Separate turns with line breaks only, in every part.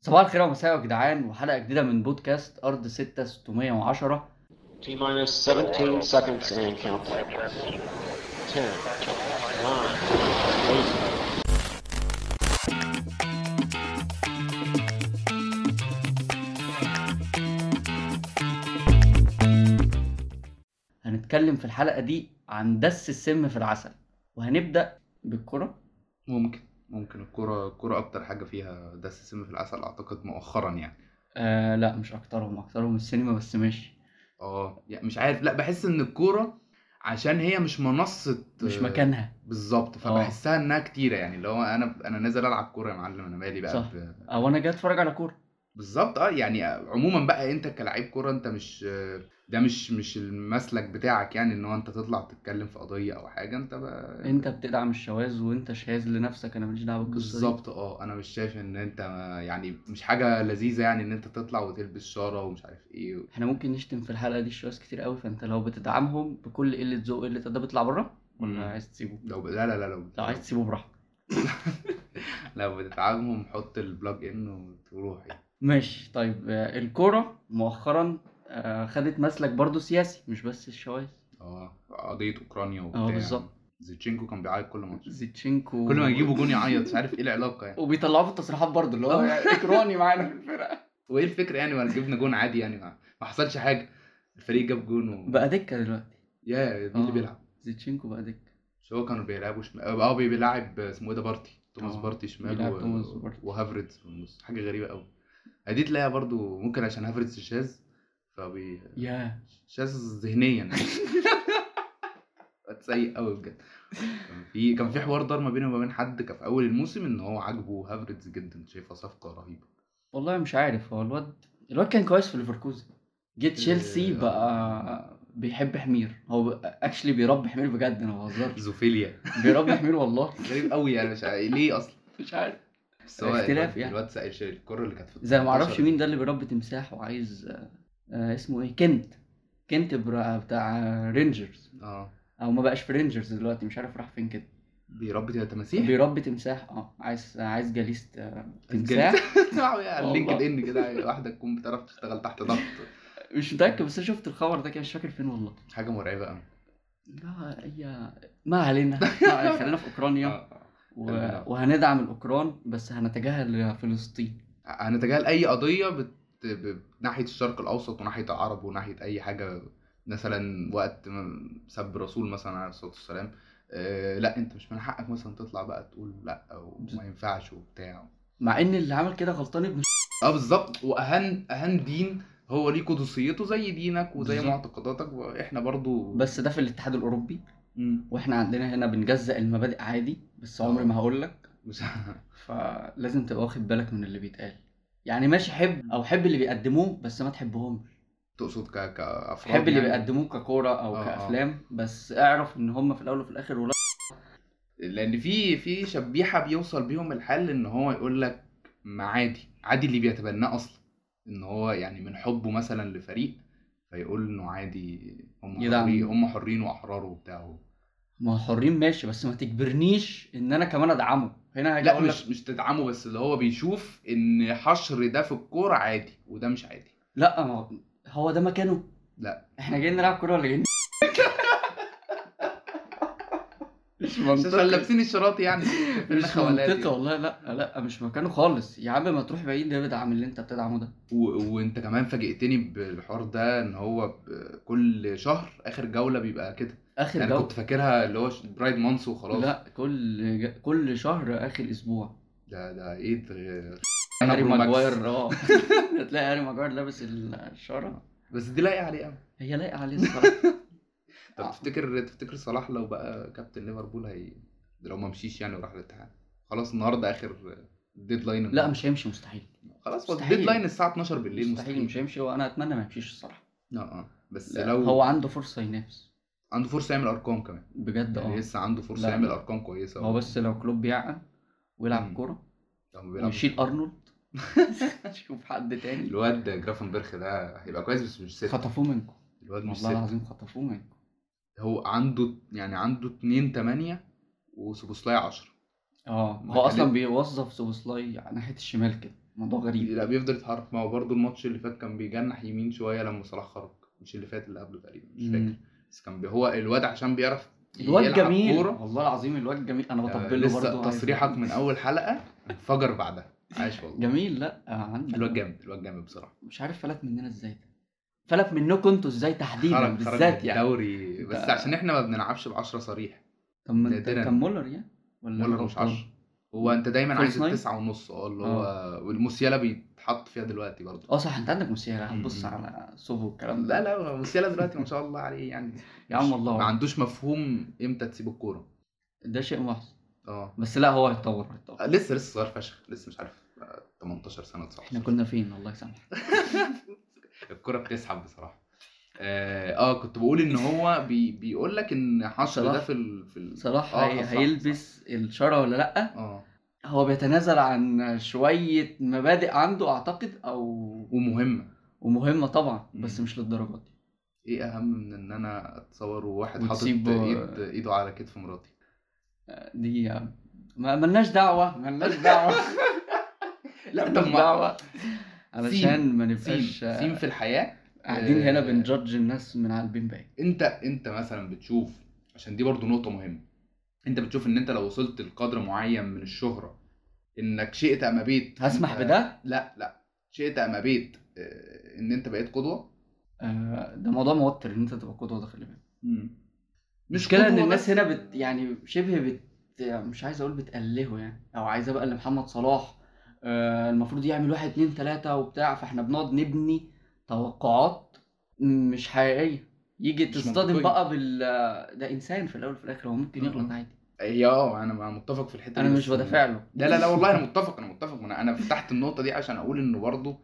صباح الخير ومساء يا جدعان وحلقة جديدة من بودكاست أرض 6 610
T minus 17 seconds and counting. 10, 9, 8,
هنتكلم في الحلقة دي عن دس السم في العسل وهنبدأ بالكرة
ممكن ممكن الكرة الكرة أكتر حاجة فيها دس سم في العسل أعتقد مؤخرا يعني
آه لا مش أكترهم أكترهم السينما بس ماشي
اه يعني مش عارف لا بحس إن الكورة عشان هي مش منصة
مش آه.
آه،
مكانها
بالظبط فبحسها إنها كتيرة يعني اللي هو أنا أنا نازل ألعب كورة يا معلم أنا مالي بقى
صح.
ب-
أو أنا جاي أتفرج على كورة
بالظبط اه يعني عموما بقى أنت كلاعب كورة أنت مش آه، ده مش مش المسلك بتاعك يعني إن هو أنت تطلع تتكلم في قضية أو حاجة أنت بقى
أنت بتدعم الشواذ وأنت شاذ لنفسك أنا ماليش دعوة بالقصة دي
بالظبط اه انا مش شايف ان انت يعني مش حاجه لذيذه يعني ان انت تطلع وتلبس شاره ومش عارف ايه
احنا ممكن نشتم في الحلقة دي الشواذ كتير قوي فأنت لو بتدعمهم بكل قلة ذوق قلة أدب اطلع بره
مم.
ولا عايز تسيبه
لو ب... لا لا لا لو
لو عايز تسيبه براحتك
لو بتتعبهم حط البلاج ان وتروح يعني.
ماشي طيب آه، الكورة مؤخرا آه، خدت مسلك برضو سياسي مش بس الشواذ
اه قضيه اوكرانيا وبتاع
اه بالظبط
زيتشينكو كان بيعيط كل ماتش
زيتشينكو
كل ما يجيبوا جون يعيط آه. مش عارف ايه العلاقه يعني
وبيطلعوه في التصريحات برضو اللي هو يعني اكراني معانا في الفرقة
وايه الفكره يعني ما جبنا جون عادي يعني ما, ما حصلش حاجه الفريق جاب جون و...
بقى دكة دلوقتي
يا مين
آه.
اللي بيلعب
زيتشينكو بقى دكة
مش هو كانوا بيلعبوا شمال اه بي- بيلعب اسمه ايه ده بارتي توماس
آه،
بارتي شمال
بيلعب
و...
توماس بارتي.
وهافرتز في النص حاجه غريبه قوي دي تلاقيها برضو ممكن عشان هافرتز شاذ فبي
يا
شاذ ذهنيا سيء قوي بجد كان في كان في حوار دار ما بينه وما بين حد كان في اول الموسم ان هو عاجبه هافرتز جدا شايفها صفقه رهيبه
والله مش عارف هو الواد الواد كان كويس في ليفركوزن جه تشيلسي
آه.
بقى بيحب حمير هو اكشلي بيربي حمير بجد انا ما بهزرش
زوفيليا
بيربي حمير والله
غريب قوي يعني مش عارف ليه اصلا
مش عارف
بس هو
اختلاف
الواد-
يعني.
الواد سائل شيء الكره اللي كانت في
زي ما
18
اعرفش
دي.
مين ده اللي بيربي تمساح وعايز آه، آه، اسمه ايه كنت كنت برا- بتاع رينجرز
اه
او ما بقاش في رينجرز دلوقتي مش عارف راح فين كده
بيربي تماسيح
بيربي تمساح اه عايز عايز جليس آه، تمساح
الجليس- اسمعوا يا على
والله.
اللينكد ان كده واحده تكون بتعرف تشتغل تحت ضغط
مش متاكد بس أنا شفت الخبر ده كده مش فاكر فين والله
حاجه مرعبه قوي
لا هي ما علينا ما- خلينا في اوكرانيا
آه.
و...
خلينا.
وهندعم الاوكران بس هنتجاهل فلسطين
هنتجاهل اي قضيه بت... ب... ناحيه الشرق الاوسط وناحيه العرب وناحيه اي حاجه مثلا وقت ما سب الرسول مثلا عليه الصلاه والسلام آه لا انت مش من حقك مثلا تطلع بقى تقول لا او ما ينفعش وبتاع
مع ان اللي عمل كده غلطان ابن
اه بالظبط واهان اهان دين هو ليه قدسيته زي دينك وزي
بالظبط.
معتقداتك واحنا برضو
بس ده في الاتحاد الاوروبي
مم.
واحنا عندنا هنا بنجزأ المبادئ عادي بس عمري
آه.
ما هقول لك
مش
فلازم تبقى واخد بالك من اللي بيتقال يعني ماشي حب او حب اللي بيقدموه بس ما تحبهمش
تقصد ك... كافراد
حب اللي
يعني؟
بيقدموه ككوره او
آه، آه.
كافلام بس اعرف ان هم في الاول وفي الاخر ولا
لان في في شبيحه بيوصل بيهم الحل ان هو يقول لك ما عادي عادي اللي بيتبناه اصلا ان هو يعني من حبه مثلا لفريق فيقول انه عادي هم
يدعم.
حرين هم حرين واحرار وبتاع
ما هو حرين ماشي بس ما تجبرنيش ان انا كمان ادعمه هنا هاجي
لا
اقول لك
مش مش تدعمه بس اللي هو بيشوف ان حشر ده في الكوره عادي وده مش عادي
لا ما هو- هو ده مكانه
لا.
احنا جايين نلعب كوره ولا جايين مش
مش عشان لابسين الشراط يعني
مش منطقي والله لا لا مش مكانه خالص يا عم ما تروح بعيد ليه بدعم اللي انت بتدعمه ده
و... وانت كمان فاجئتني بالحوار ده ان هو ب... كل شهر اخر جوله بيبقى كده
اخر
انا
جو
يعني كنت فاكرها اللي هو برايد مانس وخلاص
لا كل ج- كل شهر اخر اسبوع
ده ده ايه ده- انا
هاري
برو ماكس.
ماجواير اه هتلاقي هاري ماجواير لابس الشارة
بس دي لايقه عليه قوي
هي لايقه عليه الصراحه آه.
طب تفتكر تفتكر صلاح لو بقى كابتن ليفربول هي لو ما مشيش يعني وراح الاتحاد خلاص النهارده اخر ديدلاين
لا مش هيمشي مستحيل
خلاص هو
مستحيل.
الديدلاين الساعه 12 بالليل
مستحيل مش هيمشي وانا اتمنى ما يمشيش الصراحه
لا اه بس
لا،
لو
هو
هو
عنده فرصه ينافس
عنده فرصه يعمل ارقام كمان
بجد
يعني
اه
لسه عنده فرصه
لا.
يعمل ارقام كويسه
هو بس لو كلوب يعقل ويلعب
مم.
كوره
لو ما بيلعبش.
ويشيل ارنولد شوف حد تاني
الواد جرافنبرخ ده هيبقى كويس بس مش ست
خطفوه منكم
الواد مش
والله
ست
العظيم خطفوه منكم
هو عنده يعني عنده 2 8 وسوبوسلاي 10
اه
ما
آه. هو
كان-
اصلا بيوظف سوبوسلاي على ناحيه الشمال كده موضوع غريب
لا بيفضل يتحرك ما هو برضه الماتش اللي فات كان بيجنح يمين شويه لما صلاح خرج مش اللي فات اللي قبله تقريبا مش فاكر
مم.
بس كان بي- هو الواد عشان بيعرف
الواد
يلعب
جميل
كورة.
والله العظيم الواد جميل انا
آه،
بطبله برضه
لسه تصريحك من اول حلقه انفجر بعدها عاش والله
جميل لا آه، عندي
الواد جامد الواد جامد بصراحه
مش عارف فلت مننا ازاي ده فلت منكم انتوا ازاي تحديدا
خرج خرج
بالذات يعني
الدوري بس
ده-
عشان احنا ما بنلعبش ب 10 صريح
طب ما انت
نادراً.
كان مولر يعني ولا أنا
ولا مش
غلطان؟
10 هو انت دايما
خلص
عايز
ناين؟
التسعه ونص اه اللي هو والموسيالا بيتحط فيها دلوقتي برضه
اه صح انت عندك موسيالا هنبص
مم.
على صوفه والكلام ده
لا لا هو موسيالا دلوقتي ما شاء الله عليه يعني
يا عم
مش-
والله.
ما عندوش مفهوم امتى تسيب الكوره
ده شيء محزن
اه
بس لا هو هيتطور هيتطور
لسه لسه صغير فشخ لسه مش عارف آه، 18 سنه 19
احنا كنا فين الله يسامحك
الكرة بتسحب بصراحة اه آه، كنت بقول ان هو بي بيقول لك ان حشر
صلاح-
ده في ال... في ال...
صلاح
آه،
هي...
صح،
هيلبس الشارة ولا لا
اه
هو بيتنازل عن شوية مبادئ عنده اعتقد او
ومهمة
ومهمة طبعا
مم.
بس مش للدرجة دي
ايه اهم من ان انا اتصور وواحد حاطط
وتسيب-
ايد ايده على كتف مراتي
دي ما ملناش دعوة ملناش دعوة
لا
ملناش دعوة علشان ما نبقاش آه،
سيم سيم في الحياة
قاعدين هنا
آه.
بنجادج الناس من على البين
انت انت مثلا بتشوف عشان دي برضو نقطة مهمة انت بتشوف ان انت لو وصلت لقدر معين من الشهرة انك شئت ام بيت
هسمح
أنت-
بده
لا لا شئت ام بيت آه، ان انت بقيت قدوة
آه، ده موضوع موتر ان انت تبقى قدوة ده خلي بالك المشكلة
كده
ان الناس هنا بت يعني شبه بت مش عايز اقول بتقلهه يعني او عايز ابقى اللي محمد صلاح آه، المفروض يعمل واحد اتنين تلاتة وبتاع فاحنا بنقعد نبني توقعات مش حقيقية يجي
مش
تصطدم
منطقية.
بقى بال ده انسان في الاول وفي الاخر هو ممكن
آه.
يغلط عادي
هي اه انا أنا متفق في الحته
انا
دي،
مش
بس- يعني
بدافع له
لا لا لا والله انا متفق انا متفق انا انا فتحت النقطه دي عشان اقول انه برضه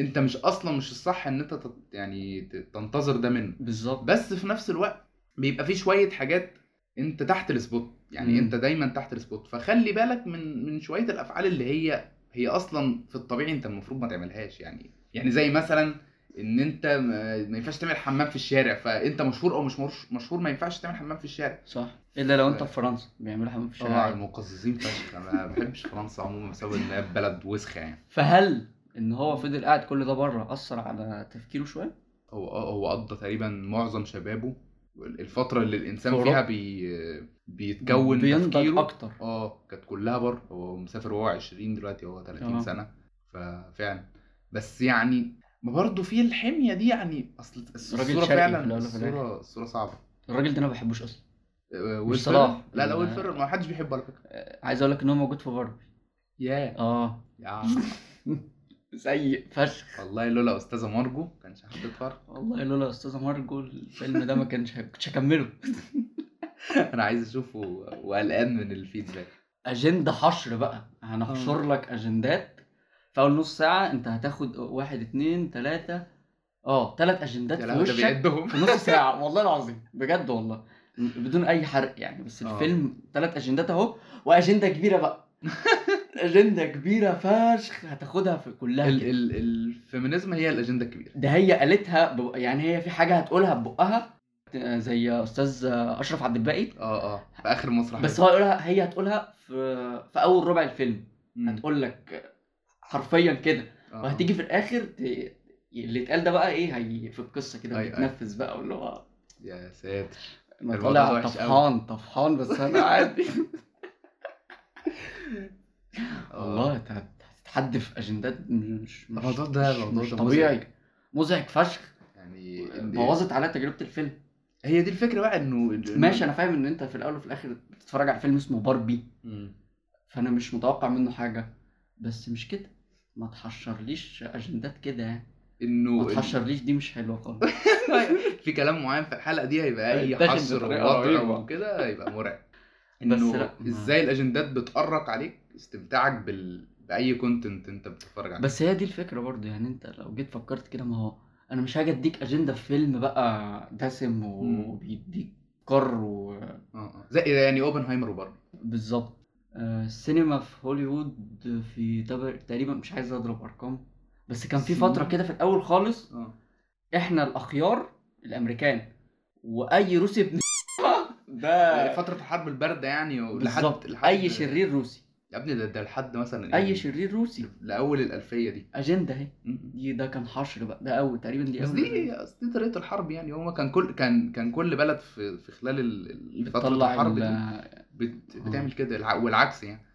انت مش اصلا مش الصح ان انت تت يعني ت- تنتظر ده منه
بالظبط
بس في نفس الوقت بيبقى في شويه حاجات انت تحت السبوت يعني
مم.
انت دايما تحت السبوت فخلي بالك من من شويه الافعال اللي هي هي اصلا في الطبيعي انت المفروض ما تعملهاش يعني يعني زي مثلا ان انت ما ما ينفعش تعمل حمام في الشارع فانت مشهور او مش مش- مشهور ما ينفعش تعمل حمام في الشارع
صح الا لو انت في فرنسا بيعملوا حمام في الشارع
اه
عادي.
المقززين فشخ انا ما بحبش فرنسا عموما بسبب انها بلد وسخه يعني
فهل ان هو فضل قاعد كل ده بره اثر على تفكيره شويه
هو آه، هو قضى تقريبا معظم شبابه الفتره اللي
في
الانسان
أوروبا.
فيها بي بيتكون
بينضج
تفكيره
اكتر
اه كانت كلها بره هو مسافر وهو 20 دلوقتي هو 30
آه.
سنه ففعلا بس يعني ما برضه في الحميه دي يعني اصل الص-
راجل شرقي
الصوره
في الأول
فعلا
وفي الآخر.
الصوره الصوره صعبه
الراجل ده انا ما بحبوش اصلا
آه،
مش
ويل فيرل-
صلاح. آه.
لا لا
ال-
ويل فيرل ما حدش بيحبه على فكره
آه، عايز اقول لك ان هو موجود في باربي
ياه
اه
يا
سيء فشخ
والله لولا استاذه مارجو كانش هتتفرج
والله لولا استاذه مارجو الفيلم ده ما كانش هيب- كنتش هكمله
انا عايز اشوفه وقلقان من الفيدباك
اجنده حشر بقى هنحشر لك اجندات في اول نص ساعه انت هتاخد واحد اتنين تلاته اه تلات اجندات
يا
في
لهوي ده
وشك
بيعدهم
في نص ساعة والله العظيم بجد والله بدون أي حرق يعني بس
آه.
الفيلم ثلاث أجندات أهو وأجندة كبيرة بقى أجندة كبيرة فشخ هتاخدها في كلها
ال-
كده.
ال- الفيمينيزم هي الاجنده الكبيره
ده هي قالتها ب... يعني هي في حاجة هتقولها ببقها زي أستاذ أشرف عبد الباقي
اه اه في اخر المسرح
بس هو يقولها هي هتقولها في في أول ربع الفيلم
مم.
هتقول لك حرفيا كده
آه.
وهتيجي في الآخر ت... اللي اتقال ده بقى إيه هي في القصة كده
أيوة، أيوة.
بتنفذ بقى واللي هو
يا ساتر
انا
الموضوع ده
طالع
وحش أوي.
طفحان طفحان بس انا عادي
آه.
والله انت هتتحد في اجندات مش مش
الموضوع ده-
مش-
الموضوع
مش
ده
طبيعي مزعج فشخ
يعني إن-
بوظت عليا تجربه الفيلم
هي دي الفكره بقى انه إنه-
ماشي انا فاهم ان انت في الاول وفي الاخر بتتفرج على فيلم اسمه باربي
مم.
فانا مش متوقع منه حاجه بس مش كده ما تحشرليش اجندات كده يعني ما
انه
تحشرليش دي مش حلوه خالص
إنه- في كلام معين في الحلقه دي هيبقى اي
هيتاخد
حصر
بطريقة
ووضع
رهيبة.
وكده هيبقى مرعب
بس
إنه
لا، ما-
ازاي الاجندات بتأرق عليك استمتاعك بال... باي كونتنت انت بتتفرج عليه
بس هي دي الفكره برضه يعني انت لو جيت فكرت كده ما هو انا مش هاجي اديك اجنده في فيلم بقى دسم
مم.
وبيديك كر و...
اه آه. زي يعني اوبنهايمر وبرضه
بالظبط آه، السينما في هوليوود في تبر- تقريبا مش عايز اضرب ارقام بس كان في
السينما؟
فتره كده في الاول خالص
اه
احنا الاخيار الامريكان واي روسي ابن ده
فترة آه، الحرب الباردة يعني ولحد
بالظبط
لحد
اي شرير روسي
يا ابني ده ده لحد مثلا
اي
إيه؟
شرير روسي
لاول الالفيه دي
اجنده اهي
م-
دي ده كان حشر بقى ده اول تقريبا دي
بس
اول
دي أصل دي طريقه الحرب يعني هو كان كل كان كان كل بلد في في خلال ال- ال- فتره
بتطلع
الحرب
ال- آه،
دي بت بتعمل كده الع- والعكس يعني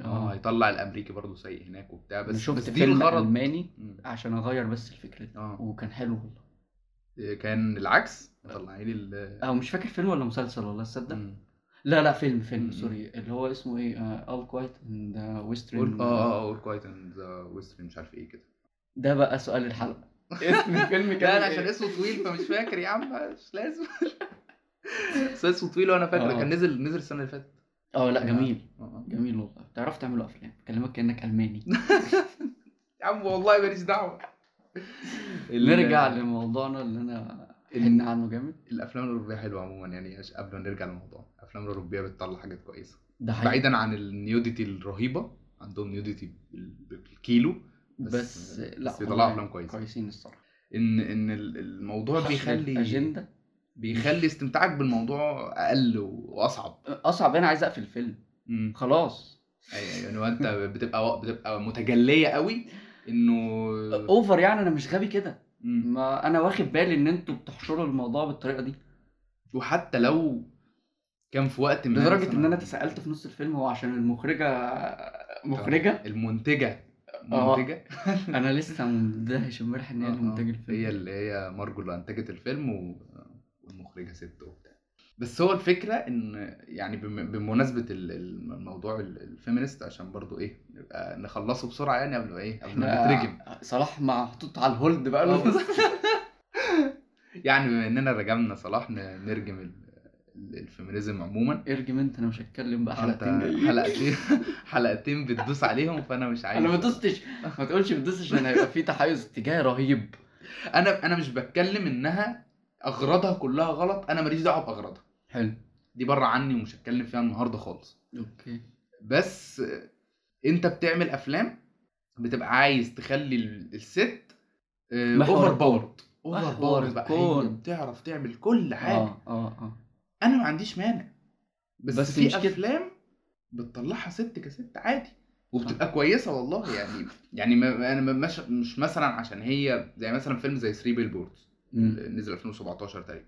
اه
اه
يطلع الامريكي برضه سيء هناك وبتاع
بس
بس
شفت
بس دي
فيلم
الغرض
الماني
مم.
عشان اغير بس الفكره دي
اه
وكان حلو والله
كان العكس مطلعين ال
او مش فاكر فيلم ولا مسلسل والله تصدق
مم.
لا لا فيلم فيلم
مم.
سوري اللي هو اسمه ايه اول كوايت اند
قول-
ويسترن
اه اه اول كوايت اند ويسترن مش عارف ايه كده
ده بقى سؤال الحلقه اسم الفيلم
لا
كان
انا عشان
إيه؟
اسمه طويل فمش فاكر يا عم مش لازم بس اسمه طويل وانا فاكر
آه.
كان نزل نزل السنه اللي فاتت
اه لا جميل
آه، آه.
جميل والله بتعرف تعملوا افلام بكلمك كانك الماني
يا عم والله ماليش دعوه
نرجع لموضوعنا اللي انا حن عنه جامد
الافلام الاوروبيه حلوه عموما يعني عش- قبل ما نرجع للموضوع الافلام الاوروبيه بتطلع حاجات كويسه
ده حقيقي
بعيدا عن النيوديتي الرهيبه عندهم نيوديتي بال- بالكيلو
بس,
بس-
لا
بس بيطلعوا
والله
أفلام كويسة.
كويسين الصراحه
ان ان ال- الموضوع
حشر
بيخلي
الاجنده
بيخلي استمتاعك بالموضوع اقل و- واصعب
اصعب انا آه، عايز اقفل الفيلم
مم.
خلاص
ايوه يعني هو انت بتبقى بتبقى متجليه قوي انه
اوفر يعني انا مش غبي كده
مم.
ما انا واخد بالي ان انتوا بتحشروا الموضوع بالطريقه دي
وحتى لو كان في وقت ما
لدرجه
مثلاً-
ان انا اتسالت في نص الفيلم هو عشان المخرجه مخرجه
المنتجه
آه.
منتجه
انا لسه مندهش امبارح ان هي
آه،
اللي منتج
آه.
الفيلم
هي اللي هي مارجو اللي انتجت الفيلم و... والمخرجه ست وبتاع بس هو الفكره ان يعني بم... بمناسبه ال- ال- الموضوع ال- الفيمينست عشان برضو ايه نبقى نخلصه بسرعه يعني قبل ما ايه قبل ما
احنا
نترجم
صلاح محطوط على الهولد بقى
آه، بس- يعني بما اننا رجمنا صلاح ن- نرجم ال... ال- الفيمينيزم عموما
ارجم انت انا مش هتكلم بقى
انت
حلقتين جايين.
حلقتين حلقتين بتدوس عليهم فانا مش عايز
انا ما دوستش ما تقولش ما دوستش انا هيبقى في تحيز اتجاهي رهيب
انا انا مش بتكلم انها اغراضها كلها غلط انا ماليش دعوه باغراضها
حلو
دي بره عني ومش هتكلم فيها النهارده خالص
اوكي
بس آه، انت بتعمل افلام بتبقى عايز تخلي ال- الست
محور
اوفر باورد اوفر
محور
باورد بقى هي
الكون.
بتعرف تعمل كل حاجه
اه اه اه
انا ما عنديش مانع بس,
بس
بس في
مش كده. آه.
افلام بتطلعها ست كست عادي وبتبقى كويسه والله يعني يعني ما انا ما- مش, مش مثلا عشان هي زي مثلا فيلم زي 3 بيل بوردز
مم.
نزل 2017 تقريبا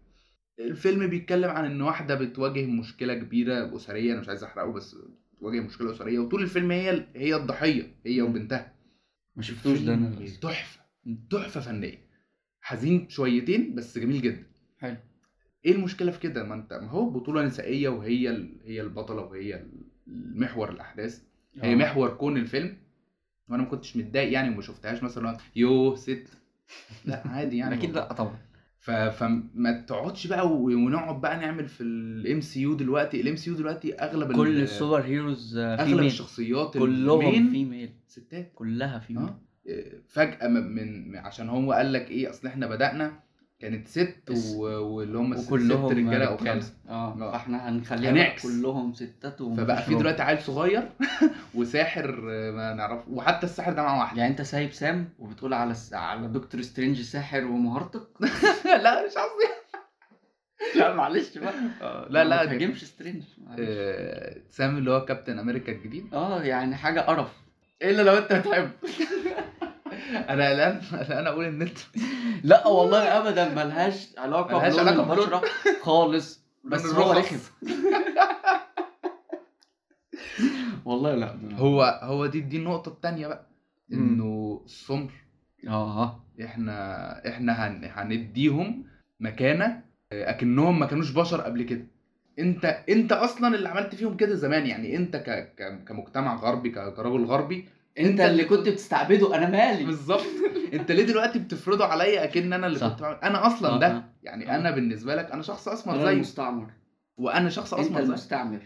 الفيلم بيتكلم عن ان واحده بتواجه مشكله كبيره اسريه انا مش عايز احرقه بس بتواجه مشكله اسريه وطول الفيلم هي هي الضحيه هي وبنتها
ما شفتوش ده
الفيلم
انا لسه.
تحفه تحفه فنيه حزين شويتين بس جميل جدا
حلو
ايه المشكله في كده ما انت ما هو بطوله نسائيه وهي ال... هي البطله وهي محور الاحداث هي
آه.
محور كون الفيلم وانا ما كنتش متضايق يعني وما شفتهاش مثلا يوه ست لا عادي يعني
اكيد لا طبعا
ف... فما تقعدش بقى و- ونقعد بقى نعمل في الام سي يو دلوقتي الام سي يو دلوقتي اغلب ال-
كل السوبر هيروز آه،
اغلب
فيميل
الشخصيات
كلهم
المين
فيميل
ستات
كلها فيميل
آه. إيه، فجاه م- من عشان هو قال لك ايه اصل احنا بدانا كانت ست
بس-
و... واللي هم ست
وكلهم
رجاله او
رجالة.
خمسه
اه
آه.
فاحنا هنخليها بقى
هنعكس.
كلهم ستات ومفيش
فبقى في
راجل.
دلوقتي عيل صغير وساحر آه، ما نعرف وحتى الساحر ده مع واحده
يعني انت سايب سام وبتقول على س... على دكتور سترينج ساحر ومهارتك
لا مش قصدي
لا معلش بقى
لا
ما
لا
تهاجمش سترينج معلش.
آه، سام اللي هو كابتن امريكا الجديد إيه
اه يعني حاجه قرف الا لو انت
طيب.
بتحب
انا الان انا اقول ان انت
لا والله ابدا ملهاش علاقه
ملهاش
بلون
علاقة بلون.
البشره خالص بس
لون
هو
الرخص.
رخم والله لا
هو هو دي دي النقطة التانية بقى
مم.
انه السمر
اه
احنا احنا هن هنديهم مكانة آه، اكنهم ما كانوش بشر قبل كده انت انت اصلا اللي عملت فيهم كده زمان يعني انت ك... ك... كمجتمع غربي ك... كراجل غربي
انت اللي كنت بتستعبده انا مالي
بالظبط انت ليه دلوقتي بتفرضه عليا اكن انا اللي
صح.
كنت بعمل انا اصلا
آه،
ده
آه.
يعني
آه.
انا بالنسبة لك انا شخص اسمر
انا
زي
المستعمر أيوه،
وانا شخص
انت
اسمر زي
المستعمر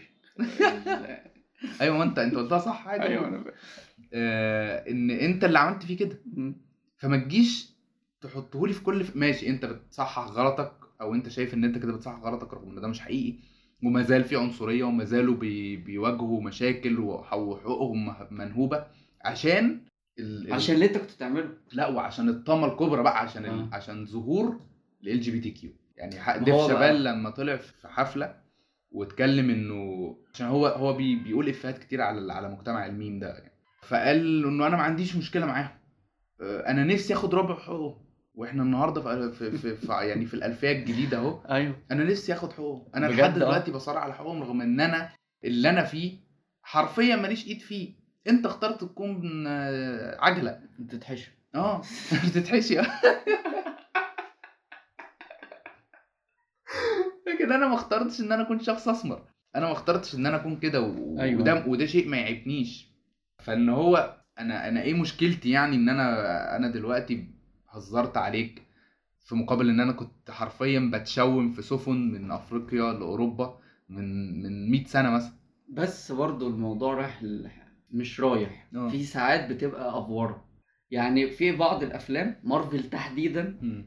ايوه ما انت انت قلتها صح عادي
انا
آه ان انت اللي عملت فيه كده فما تجيش تحطهولي في كل ف... ماشي انت بتصحح غلطك او انت شايف ان انت كده بتصحح غلطك رغم ان ده مش حقيقي وما زال في عنصريه وما زالوا بي... بيواجهوا مشاكل وح- وحقوقهم مه- منهوبه عشان ال... ال-
عشان اللي انت كنت بتعمله
لا وعشان الطامه الكبرى بقى عشان ال...
آه.
عشان ظهور ال جي بي تي كيو يعني ح-
ما
ديف
هو بقى-
شابال لما طلع في حفله واتكلم انه عشان هو هو بي بيقول افيهات كتير على على مجتمع الميم ده يعني فقال انه انا ما عنديش مشكله معاهم آه، انا نفسي اخد ربع حقوقهم واحنا النهارده في في, في, في يعني في الالفيه الجديده اهو
ايوه
انا نفسي اخد حقوقهم انا
بجد
لحد
آه.
دلوقتي بصارع على حقوقهم رغم ان انا اللي انا فيه حرفيا ماليش ايد فيه انت اخترت تكون آه، عجله
بتتحشر
اه بتتحشي اه لكن انا ما اخترتش ان انا اكون شخص اسمر انا ما اخترتش ان انا اكون كده و...
أيوة.
وده وده شيء ما يعيبنيش فان هو انا انا ايه مشكلتي يعني ان انا انا دلوقتي هزرت عليك في مقابل ان انا كنت حرفيا بتشوم في سفن من افريقيا لاوروبا من من 100 سنه مثلا
بس برضو الموضوع رايح ل- مش رايح
آه.
في ساعات بتبقى افوره يعني في بعض الافلام مارفل تحديدا
مم.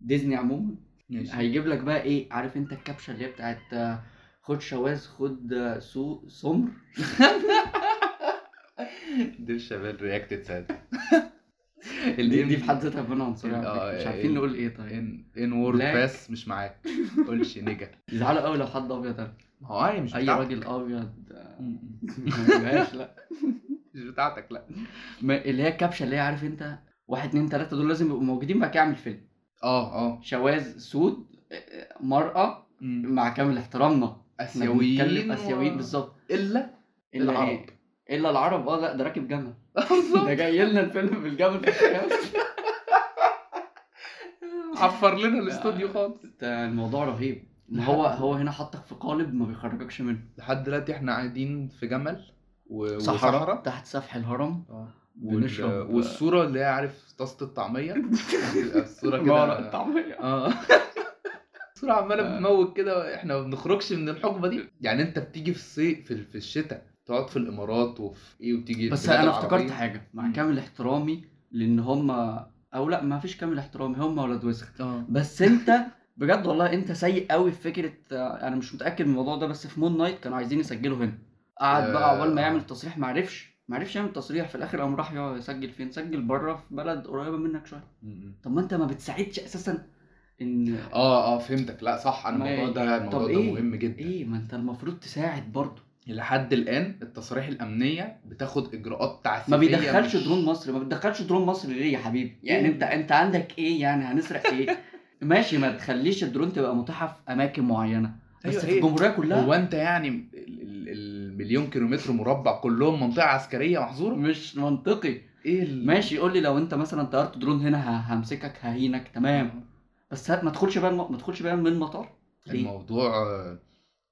ديزني عموما
ماشي
هيجيب لك بقى ايه عارف انت الكابشه اللي هي بتاعت آه، خد شواذ خد آه، سو سمر
دير شباب رياكتد ساد
دي, دي في حد ذاتها ربنا عنصريه على
ال-
فكرة.
آه،
مش عارفين
ال-
نقول ايه طيب
ان ان وورد
بلاك.
باس مش معاك قولش نيجا
يزعلوا قوي لو حد ابيض قال.
ما هو عادي مش
اي
بتاعتك.
راجل ابيض آه،
م- م.
ما بيبقاش لا
مش بتاعتك لا
ما- اللي هي الكابشه اللي هي عارف انت واحد اتنين تلاته دول لازم يبقوا موجودين بقى يعمل فيلم
اه اه
شواذ سود آه، آه، مرأة
م.
مع كامل احترامنا احنا بنتكلم
و-
اسيويين بالظبط
الا
إلا
العرب.
إيه؟ الا العرب اه لا ده راكب جمل
بالظبط
ده جاي لنا الفيلم بالجمل في الخيال.
عفر لنا الاستوديو خالص
ده الموضوع رهيب ما هو هو هنا حطك في قالب ما بيخرجكش منه
لحد دلوقتي احنا قاعدين في جمل و-
صحراء
وصحراء
تحت سفح الهرم
آه.
ونشرب
وال- والصوره اللي هي عارف طاسه الطعميه الصوره
ما ورق
كده
الطعمية
اه الصورة
آه.
عمالة بتموج كده احنا ما بنخرجش من الحقبة دي يعني انت بتيجي في الصيف في, في الشتاء تقعد في الامارات وفي ايه وتيجي
بس
البلاد
انا
العربية.
افتكرت حاجه مع
مم.
كامل احترامي لان هم او لا ما فيش كامل احترامي هم ولاد وسخ
اه
بس انت بجد والله انت سيء قوي في فكره آه، انا مش متاكد من الموضوع ده بس في مون نايت كانوا عايزين يسجلوا هنا قعد بقى
آه.
عقبال ما يعمل تصريح ما عرفش ما عرفش يعمل تصريح في الاخر قام راح يسجل فين سجل بره في بلد قريبه منك شويه
م-م.
طب ما انت ما بتساعدش اساسا ان
اه اه فهمتك لا صح انا
ما-
الموضوع ده الموضوع
طب
ده
إيه؟
مهم جدا
ايه ما انت المفروض تساعد برضه
لحد الان التصاريح الامنيه بتاخد اجراءات تعسفيه
ما بيدخلش
مش-
درون مصر ما بتدخلش درون مصر ليه يا حبيبي يعني
إيه؟
انت انت عندك ايه يعني هنسرق ايه ماشي ما تخليش الدرون تبقى متاحه في اماكن معينه بس
أيوة،
في
إيه؟
الجمهوريه كلها
هو انت يعني ال- ال- المليون كيلومتر مربع كلهم منطقه عسكريه محظوره
مش منطقي
ايه ال...
ماشي قول لي لو انت مثلا طيرت درون هنا ه- همسكك ههينك تمام
اه.
بس هات- ما تدخلش بقى الم- ما تدخلش بقى من المطار ليه؟
الموضوع آه،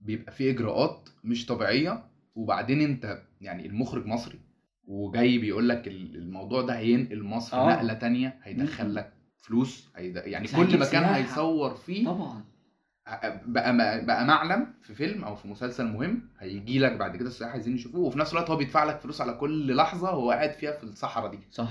بيبقى فيه اجراءات مش طبيعيه وبعدين انت يعني المخرج مصري وجاي بيقول لك ال- الموضوع ده هينقل مصر
آه.
نقله تانية هيدخل
مم.
لك فلوس هيد... يعني
بس
كل
هيجيب
مكان
سياحة.
هيصور فيه
طبعا
بقى بقى معلم في فيلم او في مسلسل مهم هيجي لك بعد كده السياح عايزين يشوفوه وفي نفس الوقت هو بيدفع لك فلوس على كل لحظه هو قاعد فيها في الصحراء دي
صح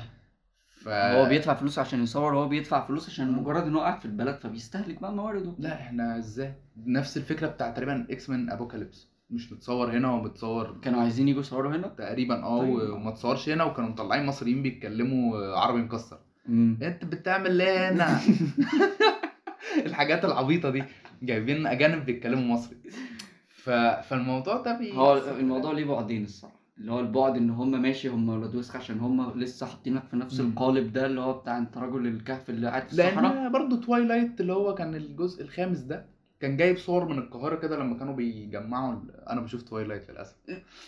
ف
هو بيدفع فلوس عشان يصور هو بيدفع فلوس عشان مجرد انه قاعد في البلد فبيستهلك بقى موارده
آه. لا احنا ازاي نفس الفكره بتاع تقريبا اكس مان ابوكاليبس مش متصور هنا ومتصور
كانوا عايزين يجوا يصوروا هنا
تقريبا اه
طيب.
وما اتصورش هنا وكانوا مطلعين مصريين بيتكلموا عربي مكسر
امم.
انت بتعمل ايه هنا الحاجات العبيطه دي جايبين اجانب بيتكلموا مصري ف... فالموضوع ده بي...
هو الموضوع ليه بعدين الصراحه اللي هو البعد ان هم ماشي هم ولاد وسخ عشان هم لسه حاطينك في نفس
مم.
القالب ده اللي هو بتاع انت رجل الكهف اللي قاعد في الصحراء
لان برضو توايلايت اللي هو كان الجزء الخامس ده كان جايب صور من القاهره كده لما كانوا بيجمعوا ال- انا بشوف توايلايت للاسف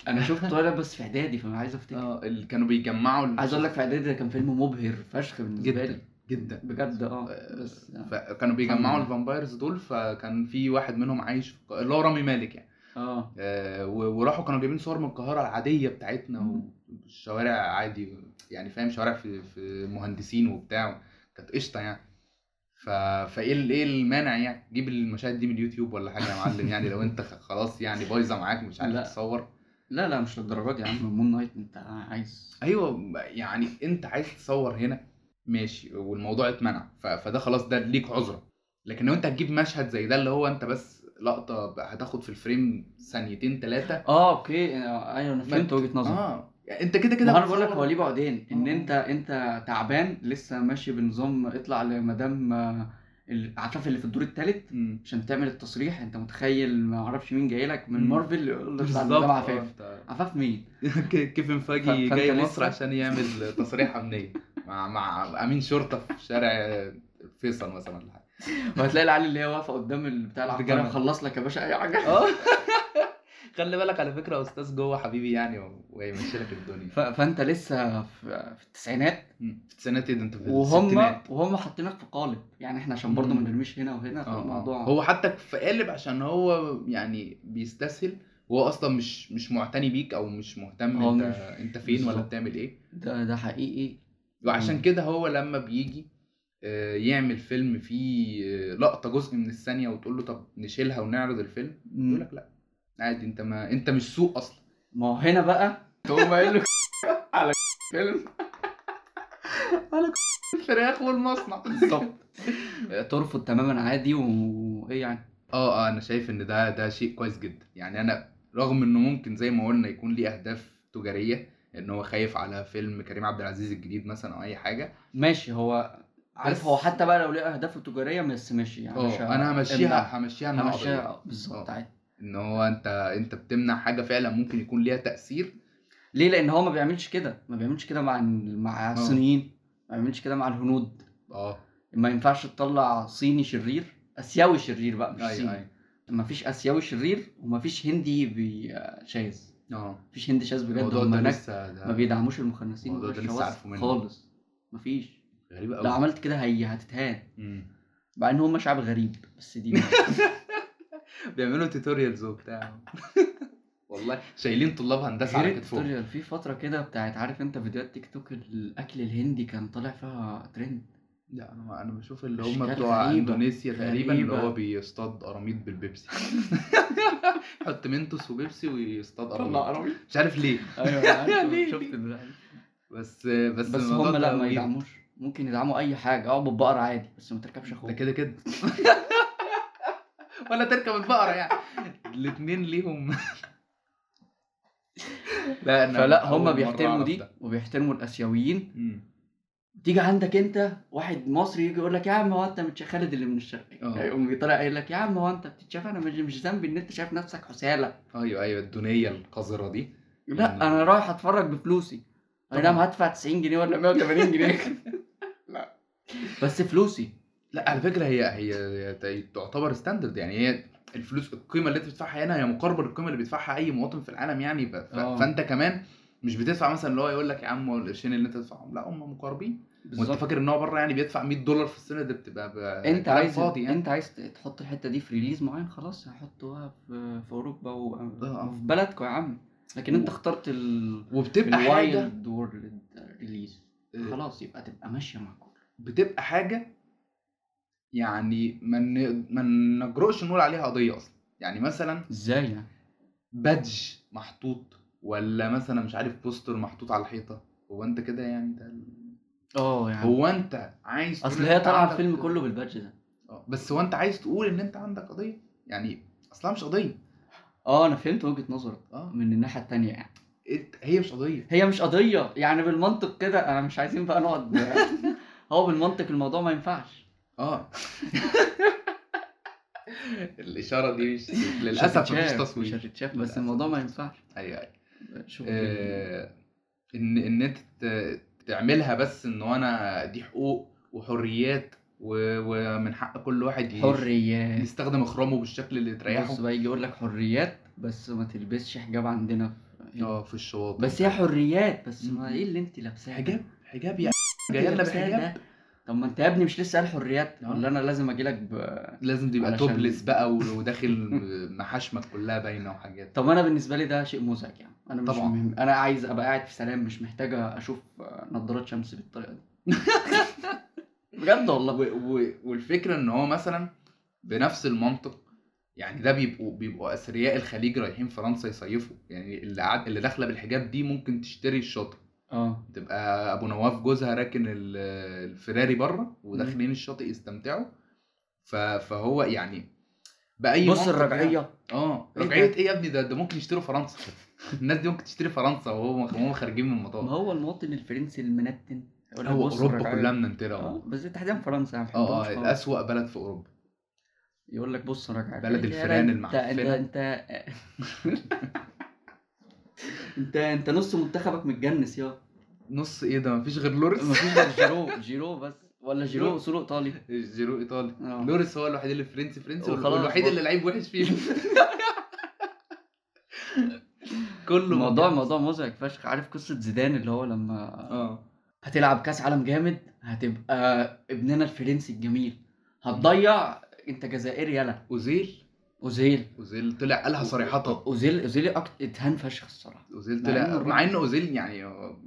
انا شفت طالع بس في اعدادي فانا عايز افتكر
اه اللي كانوا بيجمعوا ال-
آه. عايز اقول لك في اعدادي ده كان فيلم مبهر فشخ بالنسبه لي
جدا جدا
بجد اه
آه،
بس
فكانوا
الحمد
بيجمعوا
لله.
الفامبايرز دول فكان في واحد منهم عايش في القاهرة- اللي هو رامي مالك يعني
اه
آه، و- وراحوا كانوا جايبين صور من القاهره العاديه بتاعتنا
مم.
والشوارع عادي يعني فاهم شوارع في في مهندسين وبتاع كانت قشطه يعني ف... فايه ال- ايه المانع يعني جيب المشاهد دي من اليوتيوب ولا حاجه يا معلم يعني لو انت خ- خلاص يعني بايظه معاك مش
لا.
عارف تصور
لا لا مش للدرجه دي يا عم مون نايت انت عايز
ايوه يعني انت عايز تصور هنا ماشي والموضوع اتمنع ف... فده خلاص ده ليك عذره لكن لو انت هتجيب مشهد زي ده اللي هو انت بس لقطه بقى هتاخد في الفريم ثانيتين ثلاثه
اه اوكي آه، ايوه انا فهمت
ما-
وجهه نظرك
اه يعني انت كده
ما
كده
انا بقول لك هو ليه بعدين ان
آه.
انت انت تعبان لسه ماشي بنظام اطلع لمدام آه، العفاف اللي في الدور الثالث
مم.
عشان تعمل التصريح انت متخيل ما اعرفش مين جاي لك من
مم.
مارفل يقول لك ده
بالظبط، آه،
عفاف
أنت-
عفاف مين؟
كيفن فاجي
ف- فأنت
جاي
لسه-
مصر عشان يعمل تصريح امنيه مع مع امين شرطه في شارع فيصل مثلا ولا حاجه
وهتلاقي العيال اللي هي واقفه قدام ال- بتاع العبقريه
بجنن.
خلص لك يا باشا اي حاجه
اه خلي بالك على فكره يا استاذ جوه حبيبي يعني و- وهيمشي لك الدنيا
ف... فانت لسه في, في التسعينات
مم. في التسعينات إيه ده انت في
وهم
الستينات
وهم حاطينك في قالب يعني احنا عشان برضه ما
مم.
نرميش هنا وهنا
آه، آه.
فالموضوع
هو حتى في قالب عشان هو يعني بيستسهل وهو اصلا مش مش معتني بيك او مش مهتم
آه،
انت
مش-
انت فين ولا
بالظبط.
بتعمل ايه
ده ده حقيقي
وعشان
مم.
كده هو لما بيجي آه، يعمل فيلم فيه آه، لقطه جزء من الثانيه وتقول له طب نشيلها ونعرض الفيلم
مم.
يقول لك لا عادي انت ما انت مش سوق اصلا
ما هو هنا بقى تقوم قايل له على فيلم على
الفراخ والمصنع
بالظبط ترفض تماما عادي وايه يعني
اه اه انا شايف ان ده ده شيء كويس جدا يعني انا رغم انه ممكن زي ما قلنا يكون ليه اهداف تجاريه ان هو خايف على فيلم كريم عبد العزيز الجديد مثلا او اي حاجه
ماشي هو عارف
بس-
هو حتى بقى لو ليه اهدافه تجاريه بس ماشي يعني مش
اه انا همشيها همشيها إن أنا أقدر.
همشيها بالظبط
آه.
عادي
ان هو انت انت بتمنع حاجه فعلا ممكن يكون ليها تاثير
ليه لان هو ما بيعملش كده ما بيعملش كده مع
آه.
مع الصينيين ما بيعملش كده مع الهنود
اه
ما ينفعش تطلع صيني شرير اسيوي شرير بقى مش
ايوه
صيني
ايوه
ما فيش اسيوي شرير وما فيش هندي بي- شاذ
اه
ما فيش هندي شاذ بجد
الموضوع
هم
ده
هناك
لسه ده
ما بيدعموش المخنثين
الموضوع ده لسه
والشواذ
عارفه منه.
خالص مفيش
غريب
لو
قوي
عملت كده هي هتتهان مع ان هم شعب غريب بس دي
بيعملوا توتوريالز وبتاع والله شايلين طلاب هندسه على
غير
كتفهم
التوتوريال في فتره كده بتاعت عارف انت فيديوهات تيك توك الاكل الهندي كان طالع فيها ترند
لا انا انا بشوف اللي
أشكال
هم بتوع
غريبة.
اندونيسيا تقريبا اللي
غريبة.
هو بيصطاد قراميط بالبيبسي يحط منتوس وبيبسي ويصطاد قراميط
عربي
مش عارف ليه
ايوه أنا عارف،
ليه؟
شفت ده
بس بس
بس
الموضوع
هم
ده
لا ما
غريب.
يدعموش ممكن يدعموا اي حاجه اعبط بقره عادي بس ما تركبش
ده
اخوك
كده كده ولا تركب البقره يعني الاتنين ليهم لا أنا
فلا
أول
هم
مرة
بيحترموا
أعرف
دي
ده.
وبيحترموا الاسيويين
مم.
تيجي عندك انت واحد مصري يجي يقول لك يا عم هو انت مش خالد اللي من الشرقيه
اه.
يقوم بيطلع قايل لك يا عم هو انت بتتشاف انا مش مش ذنبي ان انت شايف نفسك حساله
ايوه ايوه الدنيا القذره دي
لا
مم.
انا رايح اتفرج بفلوسي اي
طبعا.
نعم هدفع 90 جنيه ولا 180 جنيه لا بس فلوسي
لا على فكره هي هي, هي تعتبر ستاندرد يعني هي الفلوس القيمه اللي انت بتدفعها هنا هي مقاربه للقيمه اللي بيدفعها اي مواطن في العالم يعني ف... ف...
اه.
فانت كمان مش بتدفع مثلا اللي هو يقول لك يا عم هو القرشين اللي انت تدفعهم لا هم مقاربين وانت
بالظبط
فاكر ان هو بره يعني بيدفع 100 دولار في السنه ده بتبقى ب...
انت
كلام
عايز
فاضي يعني
انت عايز تحط الحته دي في ريليز معين خلاص هحطوها في في اوروبا
اه.
وفي بلدكوا يا عم لكن انت اخترت ال-
وبتبقى حاجه
الوايلد وورلد ريليز خلاص يبقى تبقى ماشيه مع كل
بتبقى حاجه يعني ما من... ما نجرؤش نقول عليها قضيه اصلا يعني مثلا
ازاي يعني
بادج محطوط ولا مثلا مش عارف بوستر محطوط على الحيطه هو انت كده يعني ده ال-
اه يعني
هو انت عايز تقول
اصل
إن
هي
أنت
طالعه
عندك-
الفيلم كله بالبادج ده
آه، بس هو انت عايز تقول ان انت عندك قضيه يعني اصلا مش قضيه
اه انا فهمت وجهه نظرك
اه
من الناحيه التانية يعني
إنت- هي مش قضيه
هي مش قضيه يعني بالمنطق كده انا مش عايزين بقى نقعد هو بالمنطق الموضوع ما ينفعش
اه الاشاره دي مش للاسف
مش
مفيش
هتتشاف، مش
تصوير
هتتشاف بس
للأسف
الموضوع ما
مفيش
ينفعش
ايوه ايوه
شوف
آه، ان ان انت ت- تعملها بس ان انا دي حقوق وحريات و- ومن حق كل واحد ي-
حريات
يستخدم اخرامه بالشكل اللي
بص
تريحه
بقى يجي يقول لك حريات بس ما تلبسش حجاب عندنا في- إيه؟
اه في الشواطئ
بس هي حريات بس ما
مم.
ايه اللي انت لابساه ده؟
حجاب حجاب يعني
إنت
جاي لنا
لابساه
بحجاب
ده؟ طب ما انت يا ابني مش لسه قال حريات
آه.
ولا انا لازم اجي لك ب...
لازم تبقى
علشان-
توبلس بقى و- وداخل محاشمك كلها باينه وحاجات
طب انا بالنسبه لي ده شيء مزعج يعني انا مش
طبعاً.
مهم. انا عايز ابقى قاعد في سلام مش محتاجه اشوف آه، نضارات شمس بالطريقه دي بجد والله
و... و... والفكره ان هو مثلا بنفس المنطق يعني ده بيبقوا بيبقوا اثرياء الخليج رايحين فرنسا يصيفوا يعني اللي قاعد اللي داخله بالحجاب دي ممكن تشتري الشاطئ آه.
اه
تبقى ابو نواف جوزها راكن ال- الفراري بره وداخلين الشاطئ يستمتعوا ف... فهو يعني باي
بص
منطق يعني-
الرجعيه
اه
إيه
رجعيه
ده؟
ايه يا ابني ده ده ممكن يشتروا فرنسا الناس دي ممكن تشتري فرنسا وهو وهم خارجين من
ما
المطار
هو المواطن الفرنسي المنتن يقول لك
هو
بص
اوروبا
اتفرج
كلها
عليه.
منتله
آه،
اه
بس تحديدا فرنسا يعني ما
اه
بحبهمش خالص.
اسوأ بلد في اوروبا
يقول لك يعني بص راجع
بلد الفئران المعفنة.
انت انت انت انت نص منتخبك متجنس يا
نص ايه ده مفيش غير لوريس
مفيش غير جيرو جيرو بس ولا جيرو اصوله ايطالي
جيرو ايطالي
آه.
لوريس هو الوحيد اللي فرنسي فرنسي
وخلاص
والوحيد
بقى.
اللي لعيب وحش فيه كله
الموضوع
مجانس.
موضوع مزعج فشخ عارف قصه زيدان اللي هو لما
اه
هتلعب كاس عالم جامد هتبقى ابننا الفرنسي الجميل هتضيع انت جزائري يلا
اوزيل
اوزيل
اوزيل طلع قالها صريحه
اوزيل اوزيل أكت... اتهان فشخ الصراحه
اوزيل
مع إنه
طلع
الراجل-
مع ان اوزيل يعني آه،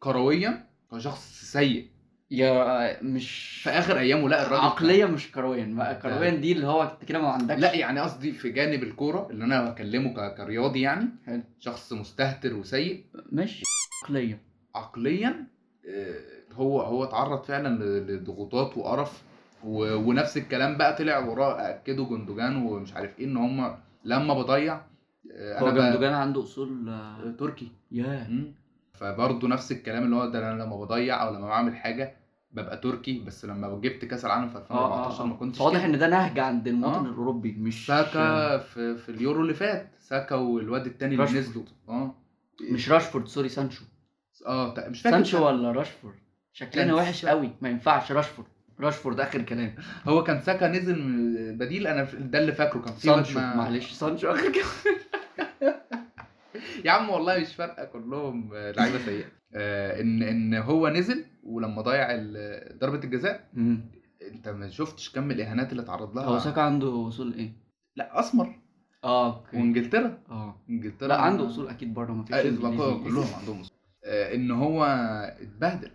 كرويا هو شخص سيء
يا مش
في اخر ايامه لا الراجل
عقلية مش كروين بقى كروين دي اللي هو انت كده ما عندكش
لا يعني قصدي في جانب الكوره اللي انا بكلمه ك- كرياضي يعني
حلو.
شخص مستهتر وسيء
مش عقلية
عقليا آه، هو هو اتعرض فعلا ل- لضغوطات وقرف و- ونفس الكلام بقى طلع وراه اكدوا جندوجان ومش عارف ايه ان هم لما بضيع آه،
هو
انا ب-
جندوجان عنده اصول آه،
تركي
ياه
فبرضه نفس الكلام اللي هو ده انا لما بضيع او لما بعمل حاجه ببقى تركي بس لما جبت كاس العالم
آه،
في 2014 ما كنتش
واضح
كده.
ان ده نهج عند المواطن
آه.
الاوروبي مش
ساكا في, في اليورو اللي فات ساكا والواد التاني اللي
راشفورد.
نزلوا اه
مش راشفورد سوري سانشو
اه تق- مش فاكر
سانشو ولا راشفورد شكلنا
كان
وحش
سا-
قوي ما ينفعش راشفورد راشفورد اخر كلام
هو كان ساكا نزل من بديل انا ف- ده اللي فاكره كان في واد
سانشو
ما-
معلش سانشو اخر كلام
يا عم والله مش فارقه كلهم آه، لعيبه سيئه آه ان ان هو نزل ولما ضيع ال- ضربه الجزاء
مم.
انت ما شفتش كم الاهانات اللي اتعرض
هو
لها
ساكا عنده اصول ايه؟
لا اسمر
اه اوكي
وانجلترا
اه
انجلترا
لا عنده اصول اكيد بره ما فيش
آه، إسبقوا كلهم عندهم أصول. آه ان هو اتبهدل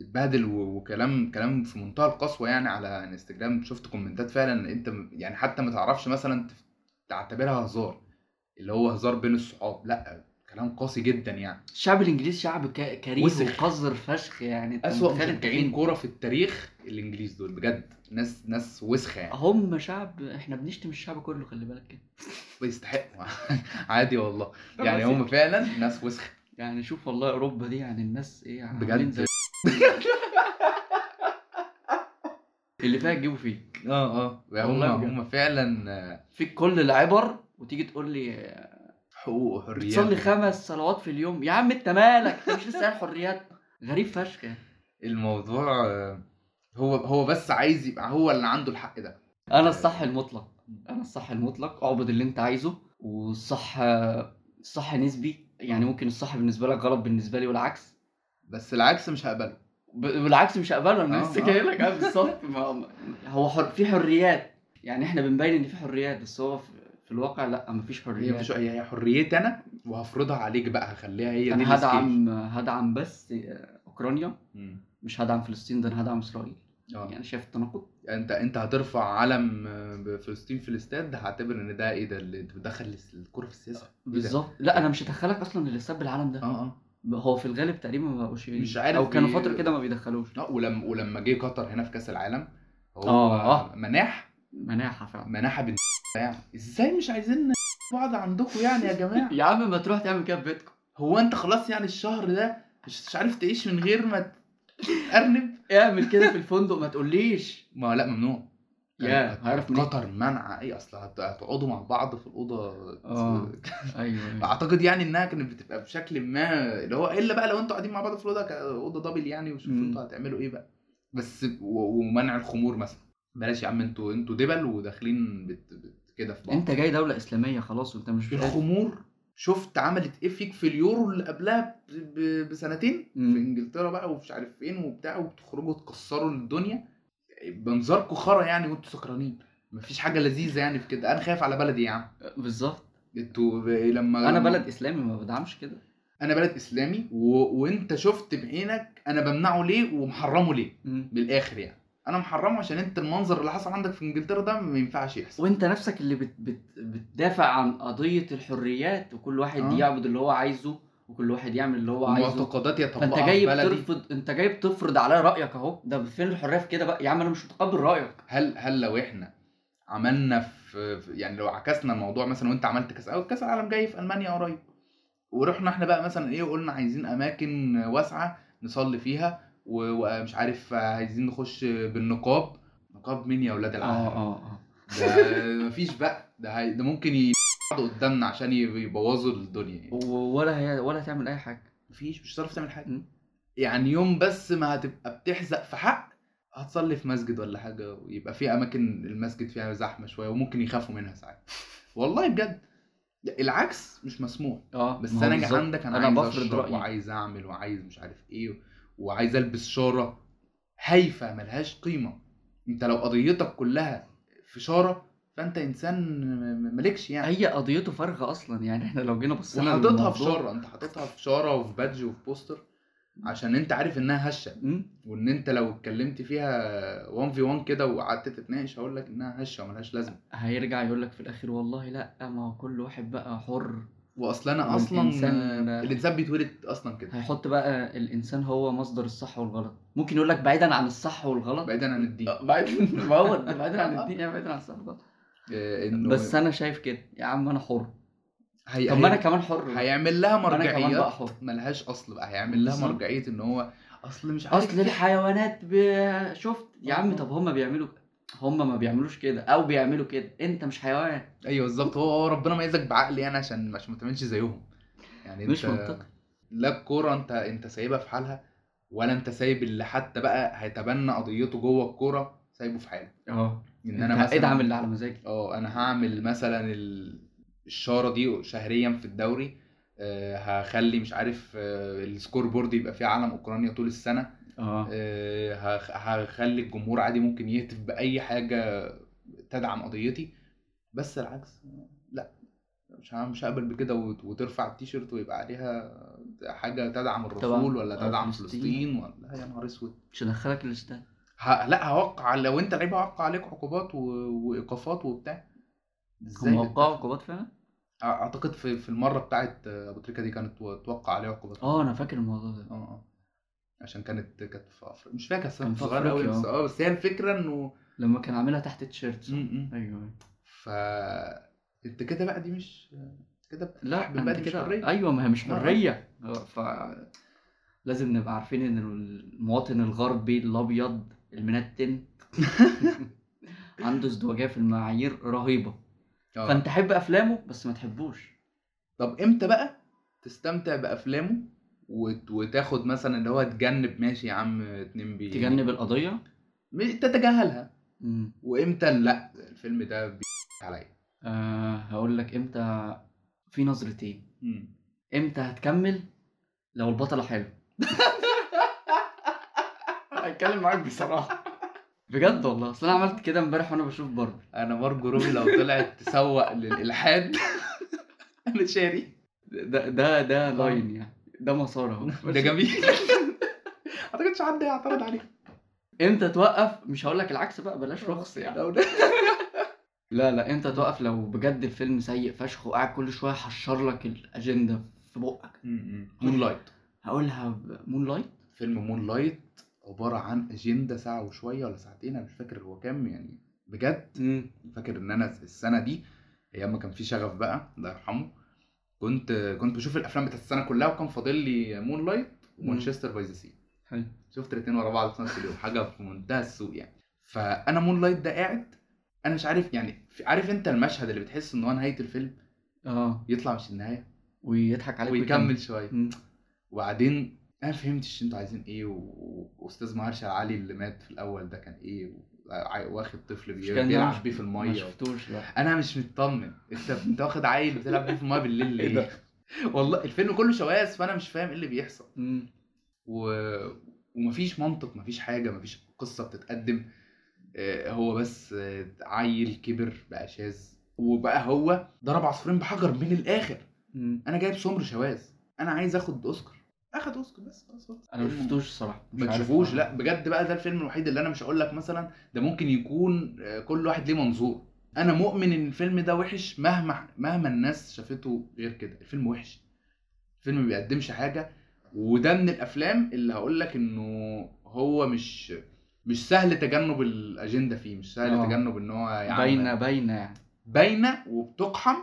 اتبهدل و- وكلام كلام في منتهى القسوه يعني على انستجرام شفت كومنتات فعلا انت م- يعني حتى ما تعرفش مثلا تف- تعتبرها هزار اللي هو هزار بين الصحاب لا كلام قاسي جدا يعني
الشعب الانجليزي شعب ك- كريه
وسخ.
وقذر فشخ يعني أنت
اسوأ
متخيل أنت
مشجعين
فين؟
كوره في التاريخ الانجليز دول بجد ناس ناس وسخه يعني
هم شعب احنا بنشتم الشعب كله خلي بالك كده آه.
بيستحقوا عادي والله يعني هم فعلا ناس وسخه
يعني شوف والله اوروبا دي يعني الناس ايه عاملين
بجد.
زي اللي فيها تجيبوا فيك
اه اه هم
آه، والله بجد.
هم فعلا آه،
فيك كل العبر وتيجي تقول لي
حقوق وحريات
بتصلي خمس صلوات في اليوم يا عم انت مالك انت مش لسه قايل حريات غريب فشخ يعني.
الموضوع آه، هو هو بس عايز يبقى هو اللي عنده الحق ده
انا الصح المطلق انا الصح المطلق اعبد اللي انت عايزه والصح الصح نسبي يعني ممكن الصح بالنسبه لك غلط بالنسبه لي والعكس
بس العكس مش هقبله
ب- بالعكس مش هقبله انا
آه،
لسه
آه.
جاي لك بالظبط ما- ما- هو حر... في حريات يعني احنا بنبين ان في حريات بس هو في, في الواقع لا مفيش
هي
حريات
مش هي هي حريتي انا وهفرضها عليك بقى هخليها هي دي
انا
السكيل.
هدعم هدعم بس آه، اوكرانيا
مم.
مش هدعم فلسطين ده انا هدعم اسرائيل
اه
يعني شايف التناقض
انت انت هترفع علم آه، فلسطين في الاستاد هعتبر ان ده ايه ده اللي انت بتدخل الكوره في السياسه إيه ده؟
بالظبط لا انا مش هدخلك اصلا اللي ساب العالم ده
اه اه
هو في الغالب تقريبا ما بقوش
مش عارف
او كانوا
بي-
فتره كده ما بيدخلوش
لا ولما آه، ولما جه قطر هنا في كاس العالم هو
آه.
مناح
مناحه فعلا
مناح بن يعني ازاي مش عايزين بعض عندكم يعني يا جماعه
يا عم ما تروح تعمل كده في بيتكم
هو انت خلاص يعني الشهر ده مش مش عارف تعيش من غير ما تأرنب
اعمل كده في الفندق ما تقوليش
ما لا ممنوع كان-
يا
كان
هعرف منين
قطر منع ايه اصل هت- هتقعدوا مع بعض في الاوضه
اه ايوه أيوة.
اعتقد يعني انها كانت بتبقى بشكل ما اللي هو الا بقى لو انتوا قاعدين مع بعض في الاوضه ك- اوضه دبل يعني وشوفوا
مم.
انتوا هتعملوا ايه بقى بس و- ومنع الخمور مثلا بلاش يا عم انتوا انتوا دبل وداخلين بت... بت... كده في بعض
انت جاي دوله اسلاميه خلاص وانت مش قادر.
الخمور شفت عملت ايه فيك في اليورو اللي قبلها ب- ب- بسنتين
مم.
في انجلترا بقى ومش عارف فين وبتاع وبتخرجوا تكسروا الدنيا بنظركم خرا يعني وانتوا سكرانين مفيش حاجه لذيذه يعني في كده انا خايف على بلدي يا عم
بالظبط
انتوا ب- لما
انا
لما-
بلد اسلامي ما بدعمش كده
انا بلد اسلامي و... وانت شفت بعينك انا بمنعه ليه ومحرمه ليه بالاخر يعني انا محرمه عشان انت المنظر اللي حصل عندك في انجلترا ده ما ينفعش يحصل
وانت نفسك اللي بت بت بتدافع عن قضيه الحريات وكل واحد
آه.
يعبد اللي هو عايزه وكل واحد يعمل اللي هو عايزه
معتقدات
فانت
يطبقها
جاي
في بلدي
بترفض انت جاي بتفرض عليا رايك اهو ده فين الحريه في كده بقى يا عم انا مش متقبل رايك
هل هل لو احنا عملنا في في- يعني لو عكسنا الموضوع مثلا وانت عملت كاس او كاس العالم جاي في المانيا قريب ورحنا احنا بقى مثلا ايه قلنا عايزين اماكن واسعه نصلي فيها و- ومش عارف عايزين نخش بالنقاب نقاب مين يا ولاد
اه
العالم
اه اه
ده مفيش بقى ده هي- ده ممكن ي- قدامنا عشان يبوظوا الدنيا يعني.
و- ولا هي ولا تعمل اي حاجه
مفيش مش هتعرف تعمل حاجه
مم.
يعني يوم بس ما هتبقى بتحزق في حق هتصلي في مسجد ولا حاجه ويبقى في اماكن المسجد فيها زحمه شويه وممكن يخافوا منها ساعات والله بجد لا، العكس مش مسموح
اه
آه، بس
ما هو
انا جه
بالظبط.
عندك انا,
أنا
عايز
بفرض
اشرب
رأيي.
وعايز اعمل وعايز مش عارف ايه وعايز البس شاره هايفه ملهاش قيمه انت لو قضيتك كلها في شاره فانت انسان م- م- مالكش يعني
هي قضيته فارغه اصلا يعني احنا لو جينا بصينا
وحاططها في
للموضوع-
شاره انت حاططها في شاره وفي بادج وفي بوستر عشان انت عارف انها هشه
مم.
وان انت لو اتكلمت فيها 1 في 1 كده وقعدت تتناقش هقول لك انها هشه وملهاش لازمه
هيرجع يقول لك في الاخير والله لا ما هو كل واحد بقى حر
واصلا انا اصلا
والإنسان-
الانسان بيتولد اصلا كده
هيحط بقى الانسان هو مصدر الصح والغلط ممكن يقول لك بعيدا عن الصح والغلط
بعيدا عن الدين
بعيدا ما هو بعيدا عن الدين يعني بعيدا عن الصح والغلط
آه، انه
بس انا شايف كده يا عم انا حر
هي...
طب ما انا
هي-
كمان حر
هيعمل لها
ما انا كمان بقى
مرجعيات
حر
ملهاش اصل بقى هيعمل لها
بالظبط.
مرجعيه ان هو اصل مش عارف
اصل الحيوانات ب- شفت يا عم طب هم بيعملوا هم ما بيعملوش كده او بيعملوا كده انت مش حيوان
ايوه بالظبط هو هو ربنا ميزك بعقلي انا عشان عشان ما تعملش زيهم يعني
مش
انت
منطقي
لا الكوره انت انت سايبها في حالها ولا انت سايب اللي حتى بقى هيتبنى قضيته جوه الكوره سايبه في حاله
اه
ان
انا
انا مثلا
ادعم اللي على مزاجي
اه انا هعمل مثلا ال- الشاره دي شهريا في الدوري آه، هخلي مش عارف آه، السكور بورد يبقى فيه علم اوكرانيا طول السنه
اه
آه، هخ- هخلي الجمهور عادي ممكن يهتف بأي حاجة تدعم قضيتي بس العكس لا مش ه- مش هقبل بكده وت- وترفع التيشيرت ويبقى عليها حاجة تدعم الرسول ولا
آه،
تدعم
فلسطين.
فلسطين ولا يا نهار اسود
مش هدخلك الاستاد
ه- لا هوقع لو انت لعيب هوقع عليك عقوبات و- وايقافات وبتاع
هم وقعوا
بتدخل؟
عقوبات فعلا؟
اعتقد في في المره بتاعت ابو تريكه دي كانت توقع عليه عقوبات
اه انا فاكر الموضوع ده
اه اه عشان كانت كانت في افريقيا مش فاكر
كان
كانت
في
صغيره قوي
أفريقيا،
بس اه بس هي الفكره انه
لما كان عاملها تحت تيشيرت صح؟
م- م.
ايوه
ف انت كده بقى دي مش كده
لا
بتحب
انت
بقى دي مش
كده
حريه
ايوه ما هي مش
آه.
حريه آه، ف لازم نبقى عارفين ان المواطن الغربي الابيض المنتن عنده ازدواجيه في المعايير رهيبه
آه.
فانت حب افلامه بس ما تحبوش
طب امتى بقى تستمتع بافلامه وت... وتاخد مثلا اللي هو تجنب ماشي يا عم اتنين بي
تجنب القضيه
م- تتجاهلها
مم.
وامتى لا الفيلم ده بي عليا
أه هقول لك امتى في نظرتين
مم.
امتى هتكمل لو البطله حلو هتكلم معاك بصراحه بجد والله اصل انا عملت كده امبارح وانا بشوف باربي
انا مارجو روبي لو طلعت تسوق للالحاد انا شاري
ده ده ده
آه.
لاين يعني ده مسار اهو
ده جميل اعتقدش حد هيعترض عليه
امتى توقف مش هقول لك العكس بقى
آه.
بلاش رخص يعني
لو ده
لا لا امتى توقف لو بجد الفيلم سيء فشخ وقاعد كل شويه حشر لك الاجنده في بقك
مون لايت
هقولها مون لايت
فيلم مون لايت عبارة عن أجندة ساعة وشوية ولا ساعتين أنا مش فاكر هو كام يعني بجد فاكر إن أنا السنة دي أيام ما كان في شغف بقى الله يرحمه كنت كنت بشوف الأفلام بتاعت السنة كلها وكان فاضل لي مون لايت ومانشستر باي ذا سي
حلو
شفت الاتنين ورا بعض في نفس اليوم حاجة في منتهى السوق يعني فأنا مون لايت ده قاعد أنا مش عارف يعني في- عارف أنت المشهد اللي بتحس إن هو نهاية الفيلم
اه
يطلع مش النهاية
ويضحك عليك
ويكمل شوية
مم.
وبعدين انا ما فهمتش انتوا عايزين ايه و- واستاذ مهرشة علي اللي مات في الاول ده كان ايه و- عاي- واخد طفل
مش
بي-
كان
بيلعب
يعرف-
بيه في
ما
الميه
شفتوش لا
انا مش مطمن انت انت واخد عيل بتلعب بيه في الميه بالليل
إيه
ليه؟ والله الفيلم كله شواذ فانا مش فاهم ايه اللي بيحصل
مم.
و... ومفيش منطق مفيش حاجه مفيش قصه بتتقدم آه، هو بس آه، عيل كبر بقى شاذ وبقى هو ضرب عصفورين بحجر من الاخر
مم.
انا جايب سمر شواذ انا عايز اخد اوسكار اخد اوسكار بس خلاص خلاص.
انا ما شفتوش الصراحه مش
ما
عارف.
تشوفوش لا بجد بقى ده الفيلم الوحيد اللي انا مش هقول لك مثلا ده ممكن يكون آه، كل واحد ليه منظور انا مؤمن ان الفيلم ده وحش مهما مهما الناس شافته غير كده الفيلم وحش الفيلم ما بيقدمش حاجه وده من الافلام اللي هقول لك انه هو مش مش سهل تجنب الاجنده فيه مش سهل
آه.
تجنب ان هو يعني
باينه باينه يعني
باينه وبتقحم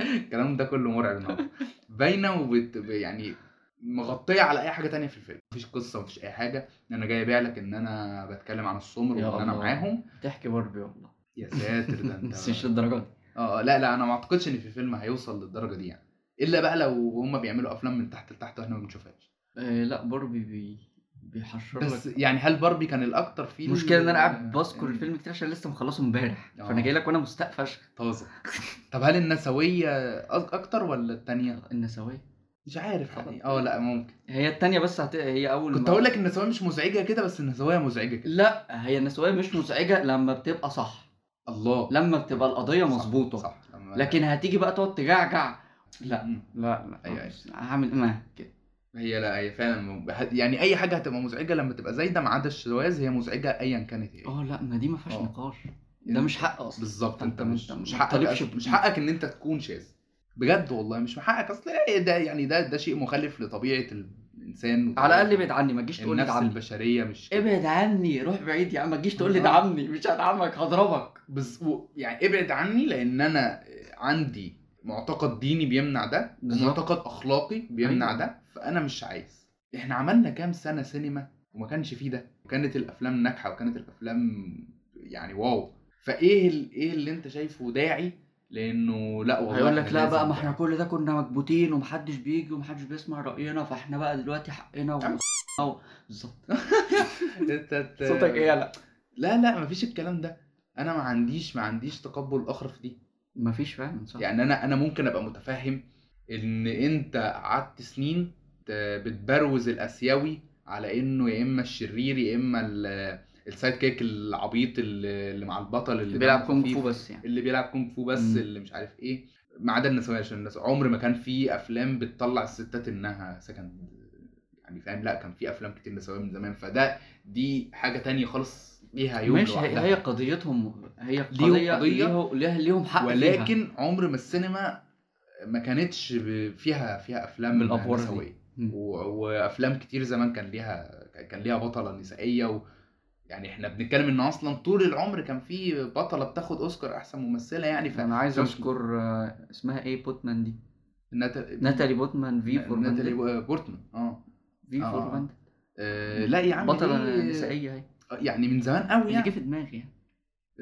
الكلام ده كله مرعب النهارده باينه وبت يعني مغطيه على اي حاجه تانية في الفيلم مفيش قصه مفيش اي حاجه انا جاي ابيع لك ان انا بتكلم عن السمر
يا
وان انا
الله.
معاهم
تحكي باربي والله
يا ساتر إيه ده
بس مش
انت
للدرجه دي
اه لا لا انا ما اعتقدش ان في فيلم هيوصل للدرجه دي يعني الا بقى لو هم بيعملوا افلام من تحت لتحت واحنا ما بنشوفهاش
آه لا باربي بي... بيحشر
بس
لك
يعني هل باربي كان الاكتر فيه يعني
المشكله ان انا قاعد بذكر الفيلم كتير عشان لسه مخلصه امبارح
آه.
فانا جاي لك وانا مستاء فشخ
طازه طب هل النسويه أك- اكتر ولا التانية
النسويه
مش عارف يعني اه لا ممكن
هي التانية بس هت... هي اول
كنت
ما-
هقول لك النسويه مش مزعجه كده بس النسويه مزعجه كده
لا هي النسويه مش مزعجه لما بتبقى صح
الله
لما بتبقى القضيه
صح،
مظبوطه
صح لما- يعني
لكن هتيجي بقى تقعد تجعجع لا
مم.
لا لا
أيوة،
مش- هعمل ايه معاها كده
هي لا هي فعلا م- ه- يعني اي حاجه هتبقى مزعجه لما تبقى زايده ما عدا الشواذ هي مزعجه ايا كانت ايه
اه لا ما دي ما فيهاش
آه.
نقاش ده مش حق اصلا
بالظبط
فأنت
انت
ما-
مش
أنت
مش
ما
حقك
تطالبش
أصلا- مش
ب-
حقك ان انت تكون شاذ بجد والله مش من حقك اصل إيه ده يعني ده ده شيء مخالف لطبيعه الانسان
على الاقل ابعد عني ما تجيش تقول إيه، لي
النفس
ادعمني
البشريه مش كده.
ابعد عني روح بعيد يا عم ما تجيش تقول لي
آه.
ادعمني مش هدعمك هضربك
بز... و- يعني ابعد عني لان انا عندي معتقد ديني بيمنع ده
بالظبط.
ومعتقد اخلاقي بيمنع
أيوة.
ده فانا مش عايز احنا عملنا كام سنه سينما وما كانش فيه ده وكانت الافلام ناجحه وكانت الافلام يعني واو فايه ال... ايه اللي انت شايفه داعي لانه لا والله
هيقول لك
إحنا
لا بقى
لازم
ما احنا
ده.
كل ده كنا مكبوتين ومحدش بيجي ومحدش بيسمع راينا فاحنا بقى دلوقتي حقنا و...
عم.
أو- بالظبط
انت ت-
صوتك ايه يلا
لا لا مفيش الكلام ده انا ما عنديش ما عنديش تقبل اخر في دي
مفيش فعلا صح
يعني انا انا ممكن ابقى متفهم ان انت قعدت سنين ت- بتبروز الاسيوي على انه يا اما الشرير يا اما ال- السايد كيك العبيط اللي اللي مع البطل اللي
اللي بيلعب
دمه
كونغ
خفيف،
فو بس يعني
اللي بيلعب كونغ فو بس
مم.
اللي مش عارف ايه ما عدا النسويه عشان الناس عمر ما كان في افلام بتطلع الستات انها سكند يعني فاهم لا كان في افلام كتير نسويه من زمان فده دي حاجه تانية خالص ليها يوم
ماشي هي,
لوحدها.
هي قضيتهم هي
ليهم
قضيه
قضية،
ليه- ليه- ليهم حق فيها.
ولكن عمر ما السينما ما كانتش ب- فيها فيها افلام
بالأفوار دي.
نسويه
مم.
و- وافلام كتير زمان كان ليها كان ليها بطله نسائيه و يعني احنا بنتكلم ان اصلا طول العمر كان في بطله بتاخد اوسكار احسن ممثله يعني ف
انا عايز
فمش-
اذكر آه، اسمها ايه بوتمان دي
ناتا-
ناتالي بوتمان في فور
ناتالي
ناتالي
بورتمان اه
في
آه.
فور بانديت.
آه، لا يا عم
بطله
دي-
نسائيه اهي
يعني من زمان قوي
اللي
يعني
جه في دماغي يعني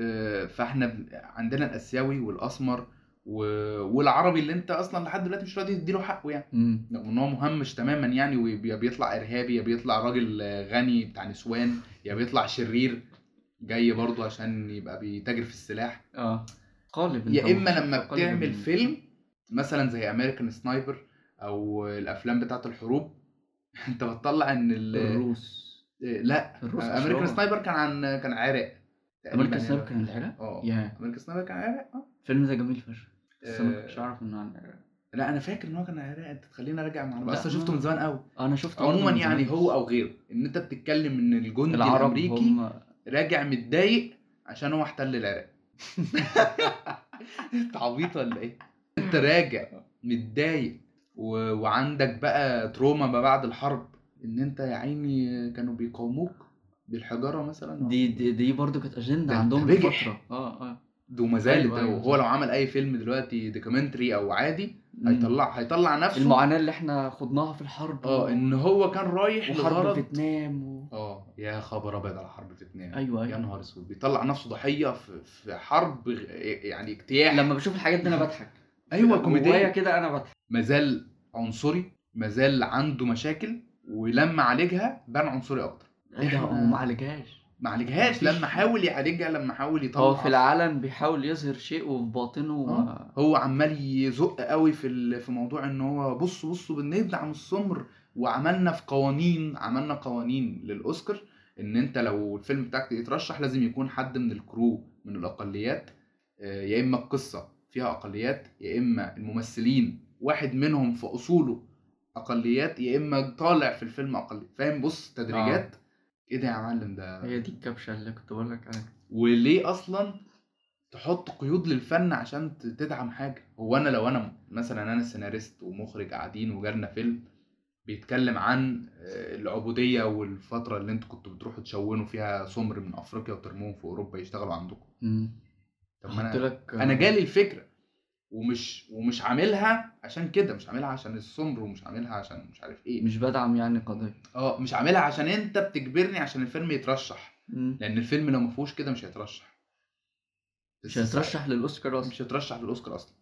آه، فاحنا ب- عندنا الاسيوي والاسمر و... والعربي اللي انت اصلا لحد دلوقتي مش راضي تديله حقه يعني
مم.
رغم ان هو مهمش تماما يعني وبيطلع ارهابي يا بيطلع راجل غني بتاع نسوان يا بيطلع شرير جاي برضه عشان يبقى بيتاجر في السلاح
اه قالب
يا
أنت
اما
مش-
لما
قالب
بتعمل
ال-
فيلم مثلا زي امريكان سنايبر او الافلام بتاعه الحروب انت بتطلع ان ال...
الروس
لا
الروس
امريكان سنايبر كان عن كان عراق تقريباً
امريكان
يعني.
سنايبر كان العراق
اه
يا
امريكان سنايبر كان عراق اه
الفيلم ده جميل فشخ بس انا ما
آه.
كنتش اعرف انه عن العراق
لا انا فاكر ان هو كان عراق انت تخليني اراجع
لا،
معلومه اصلا شفته من زمان قوي
انا شفته برضه
عموما
من زمان.
يعني هو او غيره ان انت بتتكلم ان الجندي
العرب
الامريكي
هم
راجع متضايق عشان هو احتل العراق انت عبيط ولا ايه انت راجع متضايق و... وعندك بقى تروما ما بعد الحرب ان انت يا عيني كانوا بيقاوموك بالحجاره مثلا
دي دي, دي برضه كانت اجنده
ده
عندهم
أنت بجح.
لفتره اه اه
ومازال
أيوة،
ده
أيوة.
وهو لو عمل اي فيلم دلوقتي دوكيومنتري او عادي
مم.
هيطلع هيطلع نفسه
المعاناه اللي احنا خضناها في الحرب
اه ان هو كان رايح
وحرب
لغرض
فيتنام و...
اه يا خبر ابيض على حرب فيتنام
ايوه
يا
ايوه
نهار اسود بيطلع نفسه ضحيه في, في حرب غ- يعني اجتياح
لما بشوف الحاجات دي انا بضحك أيوة،
ايوه
جوايا
كوميديه
كده انا بضحك
مازال عنصري مازال عنده مشاكل ولما عالجها بان عنصري اكتر
ايه ده
إحنا-
هو ما عالجهاش
ما عالجهاش
مفيش-
لما حاول يعالجها لما حاول يطلع
هو في العلن بيحاول يظهر شيء وفي باطنه
آه. هو عمال يزق قوي في ال- في موضوع ان هو بصوا بصوا بندعم السمر وعملنا في قوانين عملنا قوانين للاوسكار ان انت لو الفيلم بتاعك يترشح لازم يكون حد من الكرو من الاقليات آه، يا اما القصه فيها اقليات يا اما الممثلين واحد منهم في اصوله اقليات يا اما طالع في الفيلم اقلي فاهم بص تدريجات ايه ده يا معلم ده
هي دي الكبشه اللي كنت بقول لك عليها
وليه اصلا تحط قيود للفن عشان ت- تدعم حاجه هو انا لو انا مثلا انا سيناريست ومخرج قاعدين وجالنا فيلم بيتكلم عن آه، العبوديه والفتره اللي انتوا كنتوا بتروحوا تشونوا فيها سمر من افريقيا وترموهم في اوروبا يشتغلوا عندكم
مم.
طب ما
حط
انا
لك
انا جالي الفكره ومش ومش عاملها عشان كده مش عاملها عشان السمر ومش عاملها عشان مش عارف ايه
مش بدعم يعني قضيه
اه مش عاملها عشان انت بتجبرني عشان الفيلم يترشح
مم.
لان الفيلم لو ما فيهوش كده مش هيترشح
مش هيترشح للاوسكار اصلا
مش هيترشح للاوسكار اصلا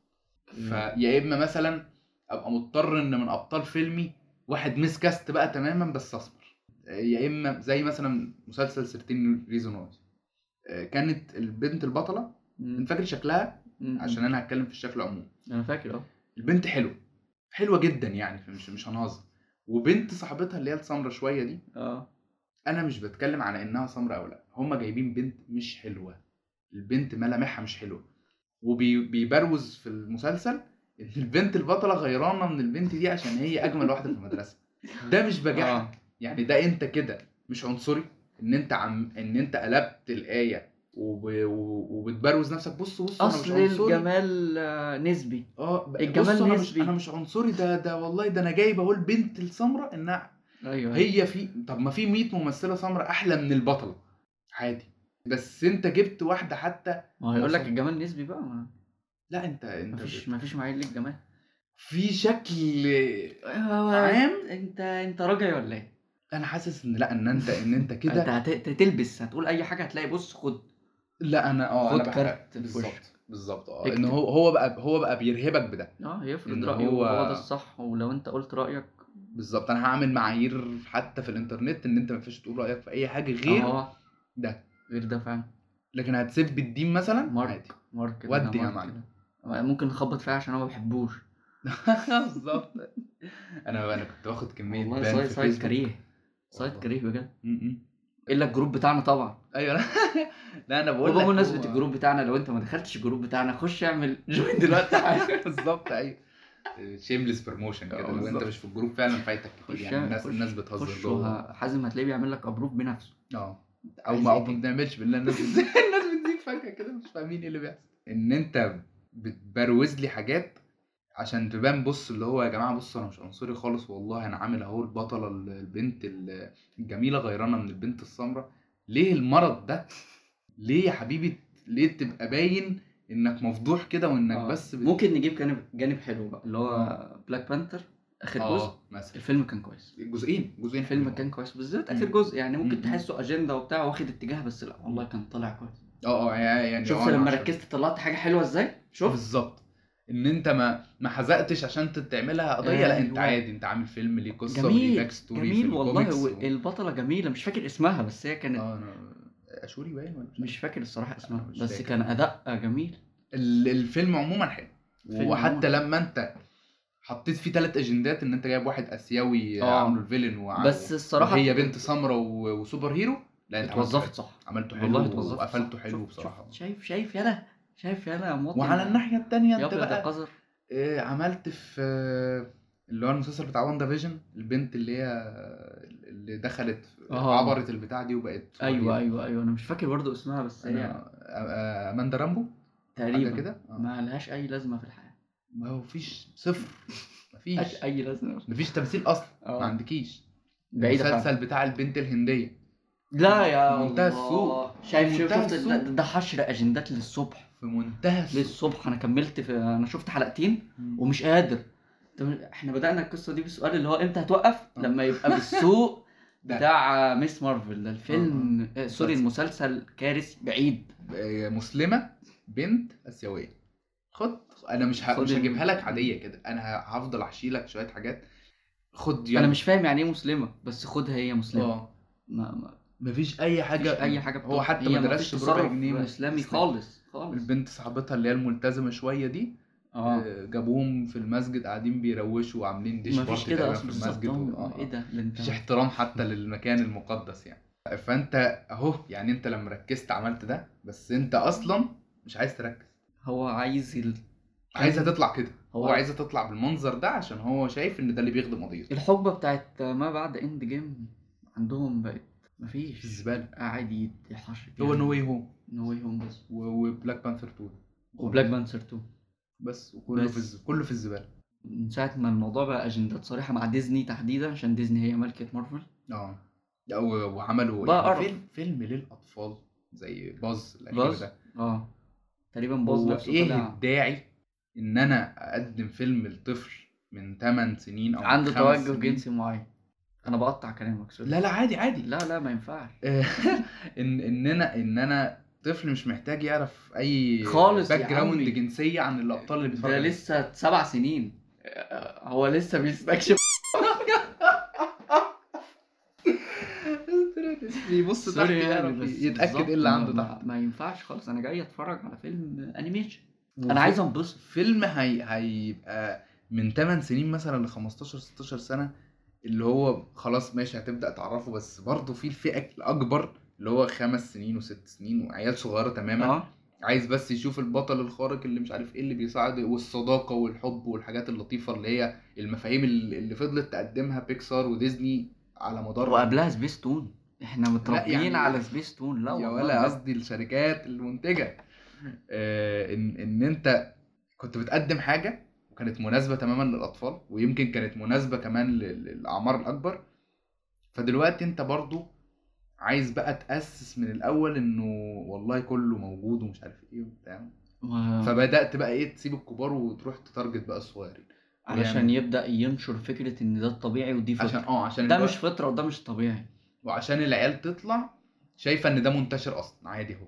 مم.
فيا اما مثلا ابقى مضطر ان من ابطال فيلمي واحد مسكاست بقى تماما بس اسمر يا اما زي مثلا مسلسل 13 ريزون واي آه، كانت البنت البطله
مم.
انت فاكر شكلها
مم.
عشان انا هتكلم في الشكل عموما
انا فاكر اه
البنت حلوه حلوه جدا يعني مش مش هنهزر وبنت صاحبتها اللي هي السمره شويه دي
اه
انا مش بتكلم على انها سمراء او لا هما جايبين بنت مش حلوه البنت ملامحها مش حلوه وبيبروز في المسلسل ان البنت البطله غيرانه من البنت دي عشان هي اجمل واحده في المدرسه ده مش بجاحه
آه.
يعني ده انت كده مش عنصري ان انت عم ان انت قلبت الايه وب... و- وبتبروز نفسك بص بص انا مش
اصل
عنصري
الجمال آه، نسبي
اه ب-
الجمال
بص انا مش
نسبي.
انا مش عنصري ده ده والله ده انا جايب اهو البنت السمراء انها
ايوه
هي في طب ما في 100 ممثله سمراء احلى من البطله عادي بس انت جبت واحده حتى
ما هو هيقول لك
وصل.
الجمال نسبي بقى ما
لا انت انت
مفيش
ب-
مفيش معايير للجمال
في شكل
هو
عام
انت انت راجعي ولا ايه؟
انا حاسس ان لا ان انت ان انت
انت
كده
هت- هت- هتلبس هتقول اي حاجه هتلاقي بص خد
لا انا اه
خد
انا بحب-
كارت في وشك.
بالظبط بالظبط اه
اكتب.
ان هو هو بقى هو بقى بيرهبك بده
اه يفرض
إن
رايه
هو-
هو... هو ده الصح ولو انت قلت رايك
بالظبط انا هعمل معايير حتى في الانترنت ان انت ما ينفعش تقول رايك في اي حاجه غير
اه
ده.
غير ده فعلا
لكن هتسب الدين مثلا عادي
مارك مارك كده،
ودي يا
مارك
معلم.
كده. آه، ممكن نخبط فيها عشان انا ما بحبوش
بالظبط انا انا كنت واخد كميه
والله
بان
سايد
في
سايد
فيسبوك.
كريه سايد
والله.
كريه بجد
م- م.
الا الجروب بتاعنا طبعا
ايوه لا, لا انا بقول لك
وبمناسبه
هو-
الجروب بتاعنا لو انت ما دخلتش الجروب بتاعنا خش اعمل جوين دلوقتي حالا.
بالظبط آه، ايوه شيمليس بروموشن
اه
كده لو انت
بالظبط.
مش في الجروب فعلا فايتك كتير
خش
يعني الناس
خش-
الناس بتهزر
خش
جوه
وه- حازم هتلاقيه بيعمل لك ابروف بنفسه
اه او
عايز
ما
ايه
أو ما
تاني؟
بنعملش بالله الناس بتزيد الناس بتزيد فجاه كده مش فاهمين ايه اللي بيحصل ان انت بتبروز لي حاجات عشان تبان بص اللي هو يا جماعه بص انا مش عنصري خالص والله انا عامل اهو البطله ال- البنت ال- الجميله غيرانه من البنت السمراء ليه المرض ده؟ ليه يا حبيبي ليه تبقى باين انك مفضوح كده وانك
آه.
بس بت...
ممكن نجيب جانب جانب حلو بقى اللي هو
آه.
بلاك بانثر اخر جزء
اه مثلا
الفيلم كان كويس يعني
جزئين جزئين
الفيلم
حلوين.
كان كويس بالذات
أيوة. مم.
اخر جزء يعني ممكن
مم.
تحسه اجنده وبتاع واخد اتجاه بس لا والله كان طالع كويس
اه اه يعني
شفت
آه، أنا
لما
عشان-
ركزت طلعت حاجه حلوه ازاي شفت
بالظبط ان انت ما ما حزقتش عشان ت- تعملها قضيه لا انت
أيوة.
عادي انت عامل فيلم ليه قصه وليه
جميل
باك ستوري
جميل
في
والله و...
الكوميكس و...
البطله جميله مش فاكر اسمها بس هي كانت
اه انا اشوري باين ولا
مش فاكر الصراحه اسمها
مش
بس
فاكر.
كان اداء جميل
ال- الفيلم عموما حلو
فيلم
وحتى
عموماً.
لما انت حطيت فيه ثلاث اجندات ان انت جايب واحد اسيوي
آه.
عامله الفيلن وع...
بس الصراحه
هي بنت سمراء و... وسوبر هيرو لا انت عملته
اتوظفت صح
حلو. عملته حلو
والله اتوظفت صح.
وقفلته حلو
شفت-
بصراحه
شفت- شايف شايف يلا شايف يلا يا مواطن
وعلى الناحيه الثانيه
يا
انت
ابيض
بقى
يا قذر
آه، عملت في آه، اللي هو المسلسل بتاع واندا فيجن البنت اللي هي اللي دخلت
آه.
عبرت البتاع دي وبقت
ايوه
صغيرة.
ايوه ايوه انا مش فاكر برضو اسمها بس هي
أنا- آه، آه، اماندا رامبو حاجه
تقريبا
كده آه.
ما لهاش اي لازمه في الحياه
ما هو فيش صفر مفيش
ملهاش اي لازمه
مفيش تمثيل اصلا ما
اه
عندكيش
بعيده فعلا.
المسلسل بتاع البنت الهنديه
لا يا
منتهى
الله.
السوق.
شايف
منتهى
شفت
السوق.
ده, ده حشر اجندات للصبح
في منتهى السوء.
للصبح انا كملت في انا شفت حلقتين
مم.
ومش قادر طب احنا بدانا القصه دي بالسؤال اللي هو امتى هتوقف
آه.
لما يبقى بالسوق
ده.
بتاع ميس مارفل ده الفيلم آه، سوري المسلسل كارثي بعيد
آه، مسلمه بنت اسيويه خد انا مش ه...
خد
مش
ال-
هجيبها لك عاديه كده انا ه- هفضل احشي لك شويه حاجات خد
انا
يلا.
مش فاهم يعني ايه مسلمه بس خدها هي مسلمه
اه
ما ما
مفيش اي حاجه
مفيش اي حاجه
هو حتى ما درسش بربع
تصرف
جنيه من-
اسلامي
إسلامي.
خالص خالص
البنت صاحبتها اللي هي الملتزمه شويه دي
اه
آه، جابوهم في المسجد قاعدين بيروشوا وعاملين ديش
مفيش
بارتي
كده
تقريبا
اصلا
في
بالظبط
المسجد و-
هم-
آه،
ايه
آه.
ده اللي انت
مفيش احترام حتى للمكان المقدس يعني فانت اهو يعني انت لما ركزت عملت ده بس انت اصلا مش عايز تركز
هو عايز ال...
عايزها تطلع كده هو
هو- إيه
عايزها تطلع بالمنظر ده عشان هو شايف ان ده اللي بيخدم قضيته
الحقبه بتاعت ما بعد اند جيم عندهم بقت
في
مفيش
الزباله
عادي يحشر
هو نو واي
يعني
هوم
نو واي هوم بس
وبلاك بانثر 2
وبلاك بانثر 2
بس وكله
بس.
في الز- كله في الزباله
من ساعه ما الموضوع بقى اجندات صريحه مع ديزني تحديدا عشان ديزني هي مالكه مارفل
اه لا، و- وعملوا
بقى
يعني
قرف.
فيلم فيلم للاطفال زي باز الاخير
باز
ده
اه تقريبا باز
هو
نفسه
ايه
طلع
الداعي ان انا اقدم فيلم لطفل من 8 سنين او من
عنده
خمس
توجه
سنين-
جنسي معين انا بقطع كلامك سوري
لا لا عادي عادي
لا لا ما ينفعش
ان ان انا ان انا طفل مش محتاج يعرف اي
خالص يا
باك جراوند
عمي.
جنسيه عن الابطال اللي بيتفرج
ده
عليهم.
لسه سبع سنين آه، هو لسه بيستكشف
بيبص تحت
سوري يعني،
يعرف
بس
يتاكد
بالظبط،
ايه اللي
ما-
عنده
ما-
تحت
ما ينفعش خالص انا جاي اتفرج على فيلم انيميشن انا عايز انبسط
فيلم هي... هيبقى من 8 سنين مثلا ل 15 16 سنه اللي هو خلاص ماشي هتبدا تعرفه بس برضه في الفئه الاكبر اللي هو خمس سنين وست سنين وعيال صغيره تماما
اه
عايز بس يشوف البطل الخارق اللي مش عارف ايه اللي بيساعد والصداقه والحب والحاجات اللطيفه اللي هي المفاهيم اللي اللي فضلت تقدمها بيكسار وديزني على مدار
وقبلها سبيس تون احنا متربيين
يعني-
على سبيس تون لا
يا
والله
ولا
لا.
قصدي الشركات المنتجه آه، ان ان انت كنت بتقدم حاجه وكانت مناسبه تماما للاطفال ويمكن كانت مناسبه كمان لل- للاعمار الاكبر فدلوقتي انت برضو عايز بقى تاسس من الاول انه والله كله موجود ومش عارف ايه وبتاع
و-
فبدات بقى ايه تسيب الكبار وتروح تتارجت بقى الصغيرين
علشان
يعني-
يبدا ينشر فكره ان ده الطبيعي ودي
عشان
فطره
اه عشان
ده
الوقت-
مش فطره وده مش طبيعي
وعشان العيال تطلع شايفه ان ده منتشر اصلا عادي اهو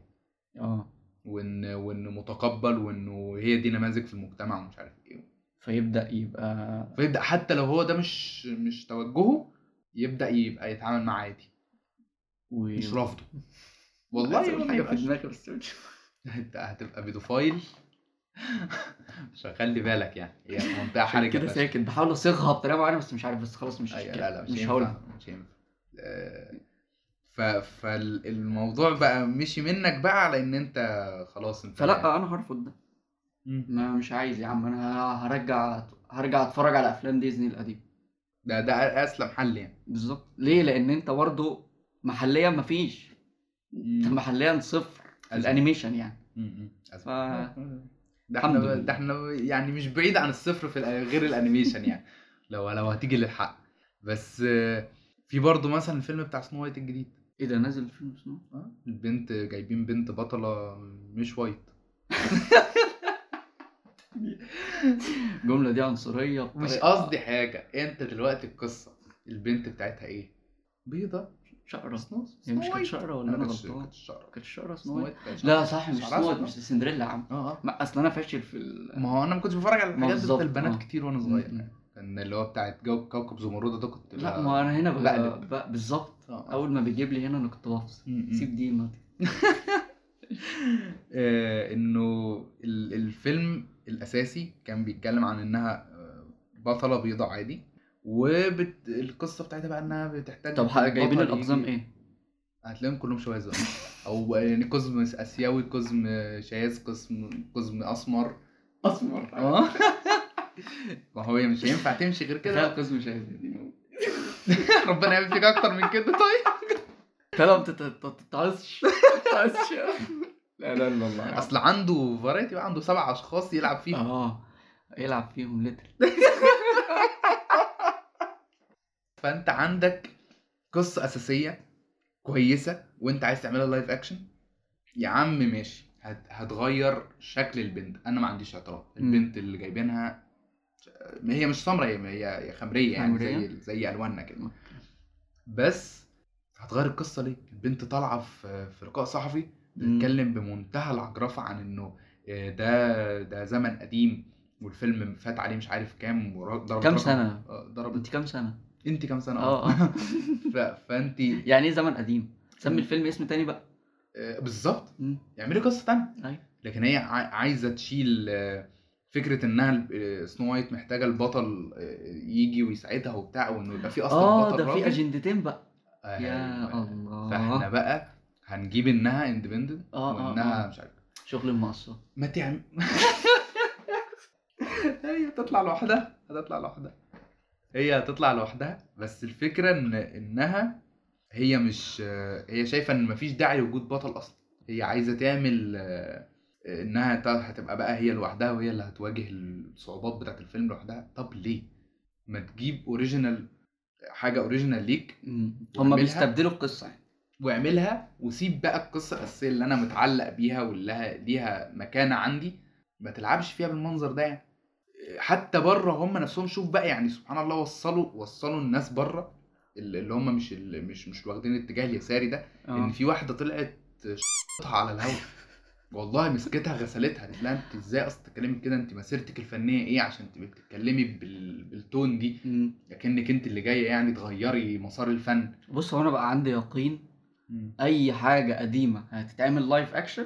اه
وان وانه متقبل وانه هي دي نماذج في المجتمع ومش عارف ايه
فيبدا يبقى
فيبدا حتى لو هو ده مش مش توجهه يبدا يبقى يتعامل معاه عادي
و... أيوة،
مش رافضه
عايز أقول
والله
حاجه في
حاجه
دماغي بس مش-
انت هتبقى بيدوفايل مش هخلي بالك يعني هي في منطقه
عشان
حرجه
كده
فشخ.
ساكت بحاول اصيغها بطريقه معينه بس مش عارف بس خلاص مش
أيوة،
مش-
لا لا مش,
مش هقولها
هينفع مش هينفع آه، ف فالموضوع بقى مشي منك بقى على ان انت خلاص انت
فلا انا هرفض ده
مم.
ما مش عايز يا عم انا هرجع هرجع اتفرج على افلام ديزني القديمه
ده ده اسلم حل يعني
بالظبط ليه لان انت برضه محليا مفيش انت
مم.
محليا صفر في
أزمة.
الانيميشن يعني
م- م.
ف- الحمد
ده احنا
لله.
ده احنا يعني مش بعيد عن الصفر في الأ- غير الانيميشن يعني لو لو هتيجي للحق بس آه، في برضه مثلا الفيلم بتاع سنو وايت الجديد
ايه ده نازل فيلم اسمه
آه، البنت جايبين بنت بطلة مش وايت
الجمله إيه؟ دي عنصريه
مش
بطريقة-
طيب، قصدي حاجة انت دلوقتي القصة البنت بتاعتها ايه؟ بيضة
شقره
سنو
هي مش كانت شقره ولا
لا،
انا
كانت
غلطان
كانت شقرة.
كانت شقره
سنو
سنو
وايت كانت
لا
شقرة.
صح مش
شعرها
سنو وايت
أسود.
مش سندريلا يا عم
اه اه
ما اصل انا فاشل في ال...
ما هو انا ما كنتش بتفرج على الحاجات بتاعت
بالظبط،
البنات
آه.
كتير وانا صغير يعني. كان اللي هو بتاعت جو- كوكب زمرد ده كنت
لا
بقى-
ما انا هنا بقى,
بقلب.
بقى بالظبط
آه، آه.
اول ما بيجيب لي هنا انا كنت بفصل
م- م.
سيب دي ما
آه، انه ال- الفيلم الاساسي كان بيتكلم عن انها آه، بطله بيضاء عادي والقصه بتاعتها بقى انها بتحتاج
طب حق- جايبين
بطل
الاقزام
يجي-
ايه؟
هتلاقيهم كلهم شواذ بقى. او يعني قزم اسيوي قزم شاذ قزم قزم اسمر
اسمر
اه ما هو هي مش هينفع تمشي غير
كده
كده
قسم شاذ
ربنا يعمل فيك اكتر من كده طيب
كلام تتعصش تتعصش لا لا لا الله
اصل عنده فرايتي بقى عنده سبع اشخاص يلعب فيهم
اه يلعب فيهم لتر
فانت عندك قصه اساسيه كويسه وانت عايز تعملها لايف اكشن يا عم ماشي هت... هتغير شكل البنت انا ما عنديش اعتراض البنت اللي جايبينها ما هي مش سمراء هي هي هي خمريه يعني
خمرية؟
زي زي الواننا كده بس هتغير القصه ليه البنت طالعه في في لقاء صحفي بتتكلم بمنتهى العجرفه عن انه آه، ده ده زمن قديم والفيلم فات عليه مش عارف كام وضربت
كام سنه؟
آه، ضربت
انت كام سنه؟
انت كام سنه
اه اه
ف... فانت
يعني ايه زمن قديم؟ سمي الفيلم اسم تاني بقى
آه، بالظبط
مم.
اعملي قصه تانية
أيوة.
لكن هي عا- عايزه تشيل آه، فكره انها الب- آه، سنو وايت محتاجه البطل آه، يجي ويساعدها وبتاع وانه يبقى في اصلا
اه
بطل
ده في
راجل.
اجندتين بقى
آه،
يا
فاحنا
الله
بقى هنجيب انها اندبندنت
آه، آه،
وانها
آه.
مش عارف
شغل المقصه
ما تعمل هي هتطلع لوحدها هتطلع لوحدها هي هتطلع لوحدها بس الفكره ان انها هي مش هي شايفه ان مفيش داعي لوجود بطل اصلا هي عايزه تعمل آه، انها ت- هتبقى بقى هي لوحدها وهي اللي هتواجه الصعوبات بتاعت الفيلم لوحدها طب ليه ما تجيب اوريجينال حاجه اوريجينال ليك
مم. هما
وعملها.
بيستبدلوا القصه يعني
واعملها وسيب بقى القصه الاساسيه اللي انا متعلق بيها واللي لها- ليها مكانه عندي ما تلعبش فيها بالمنظر ده يعني حتى بره هم نفسهم شوف بقى يعني سبحان الله وصلوا وصلوا الناس بره اللي اللي هم مش اللي مش مش واخدين الاتجاه اليساري ده ان
اه
في واحده طلعت شطها على الهوا والله مسكتها غسلتها قالت لها انت ازاي اصلا تتكلمي كده انت مسيرتك الفنيه ايه عشان تبقي بتتكلمي بال... بالتون دي
مم.
لكنك انت اللي جايه يعني تغيري مسار الفن
بص هو انا بقى عندي يقين اي حاجه قديمه هتتعمل لايف اكشن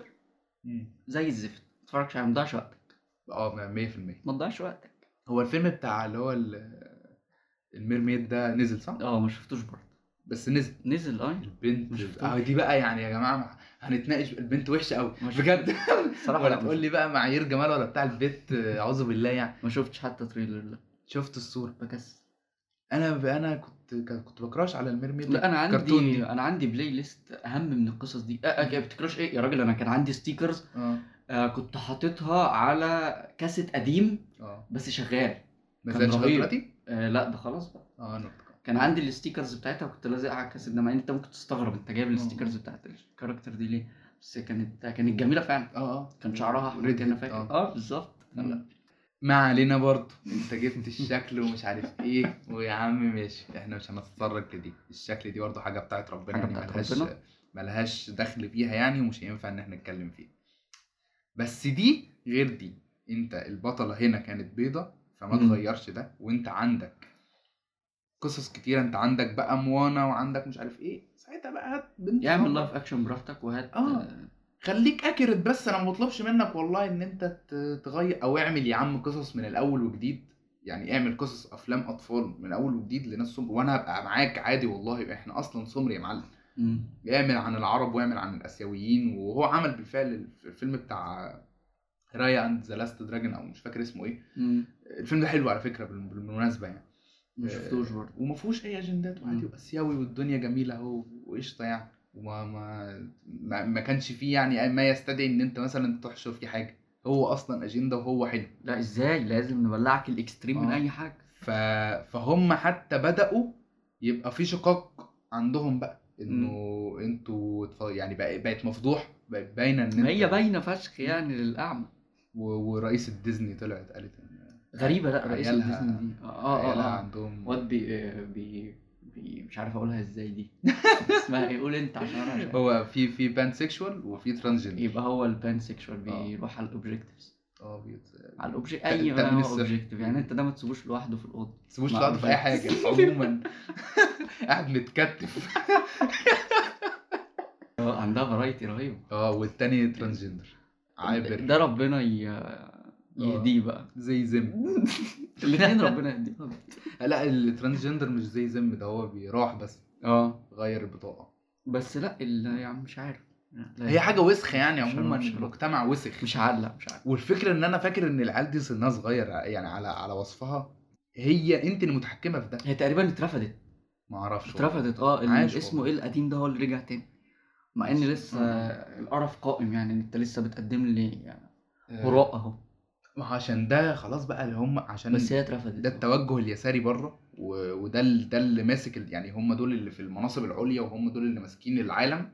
زي الزفت ما تتفرجش عليها ما تضيعش وقتك
اه 100%
ما تضيعش وقتك
هو الفيلم بتاع اللي هو ال- الميرميد ده نزل صح؟
اه ما شفتوش برضه
بس نزل
نزل اه
البنت
مش شفتوش.
اه دي بقى يعني يا جماعه هنتناقش البنت وحشه قوي
ما شفتوش.
بجد
الصراحه
ولا
لا ما
تقول لي بقى معايير جمال ولا بتاع البيت آه، اعوذ بالله يعني
شفتش- ما شفتش حتى تريلر لا
شفت الصوره
بكسل
انا انا كنت كنت بكراش على الميرميد
لا انا
كرتون يعني.
عندي
دي.
انا عندي بلاي ليست اهم من القصص دي أه أه بتكراش ايه يا راجل انا كان عندي ستيكرز
اه
آه كنت حاططها على كاسيت قديم
اه
بس شغال
ما
كان
زالش لغاية
رهيب.
دلوقتي
آه لا ده خلاص بقى
اه انا
كان عندي الستيكرز بتاعتها وكنت لازقها على الكاسيت ده مع ان انت ممكن تستغرب انت جايب
مم.
الستيكرز بتاعت الكاركتر دي ليه بس كانت كانت جميله فعلا
اه اه
آه، كان شعرها احمر
Red
كان
Head،
فاكر
اه.
اه بالظبط
مم.
لا.
ما علينا برضه انت جبت الشكل ومش عارف ايه ويا عم ماشي احنا مش هنتطرق لدي الشكل دي برضه حاجه بتاعت ربنا
حاجة
يعني
بتاعت
ملهاش
ربنا.
ملهاش دخل فيها يعني ومش هينفع ان احنا نتكلم فيها بس دي غير دي انت البطله هنا كانت بيضه فما
مم.
تغيرش ده وانت عندك قصص كتيره انت عندك بقى موانا وعندك مش عارف ايه ساعتها بقى هات بنت
اعمل
صعبة.
لايف اكشن براحتك وهات
آه.
آه،
خليك اكيرت بس انا ما بطلبش منك والله ان انت ت- تغير او اعمل يا عم قصص من الاول وجديد يعني اعمل قصص افلام اطفال من اول وجديد لناس سمر وانا هبقى معاك عادي والله احنا اصلا سمر يا معلم
مم.
اعمل عن العرب واعمل عن الاسيويين وهو عمل بالفعل الفيلم بتاع رايا اند ذا لاست دراجون او مش فاكر اسمه ايه
مم.
الفيلم ده حلو على فكره بال- بالمناسبه يعني
ما شفتوش برضه
وما فيهوش اي اجندات وعادي
مم.
واسيوي والدنيا جميله اهو وقشطه يعني وما ما ما, ما كانش فيه يعني ما يستدعي ان انت مثلا تحشر فيه حاجه هو اصلا اجنده وهو حلو
لا ازاي لازم نبلعك الاكستريم من
آه.
اي حاجه
ف... فهم حتى بداوا يبقى في شقاق عندهم بقى انه انتوا اتف- يعني بقى- بقت مفضوح بقت باينه ان
ما هي
انت-
باينه فشخ يعني للاعمى
و... ورئيس الديزني طلعت قالت ان
غريبه لا رئيس
عيالها-
الديزني دي اه اه
عيالها
اه, آه.
عندهم
واد بي, آه، بي بي مش عارف اقولها ازاي دي اسمها ايه قول انت عشان انا مش عارف.
هو في في بان سيكشوال وفي ترانسجندر
يبقى هو البان سيكشوال
آه.
بيروح على الاوبجيكتيفز
اه بيت-
على الاوبجيكت
التأمين
اي ما هو
الصحي.
اوبجيكتيف يعني انت ده ما تسيبوش لوحده في الاوضه
تسيبوش
مع
تقعد في اي حاجه
الرجال.
عموما قاعد متكتف
آه، عندها فرايتي رهيبه
اه والتاني ترانسجندر عابر آه.
ده ربنا ي- يهديه بقى
زي زم
الاثنين ربنا يهديهم
لا الترانسجندر مش زي زم ده هو بيروح بس
اه
غير البطاقه
بس لا ال- يعني مش عارف لا،
هي حاجه وسخه يعني
أيوة. مش
عموما
عارف- مش عارف.
المجتمع وسخ
مش هعلق مش عارف
والفكره ان انا فاكر ان العيال دي سنها صغير يعني على على وصفها هي انت اللي متحكمه في ده
هي تقريبا اترفضت
ما اعرفش
اترفضت اه ال-
عاش
اسمه
والله.
ايه القديم ده هو اللي رجع تاني مع ان
ماشي.
لسه
آه.
القرف قائم يعني انت لسه بتقدم لي هراء اهو
ما عشان ده خلاص بقى اللي هم عشان
بس هي اترفضت
ده التوجه اليساري بره و- وده ال- ده اللي ماسك ال- يعني هم دول اللي في المناصب العليا وهم دول اللي ماسكين العالم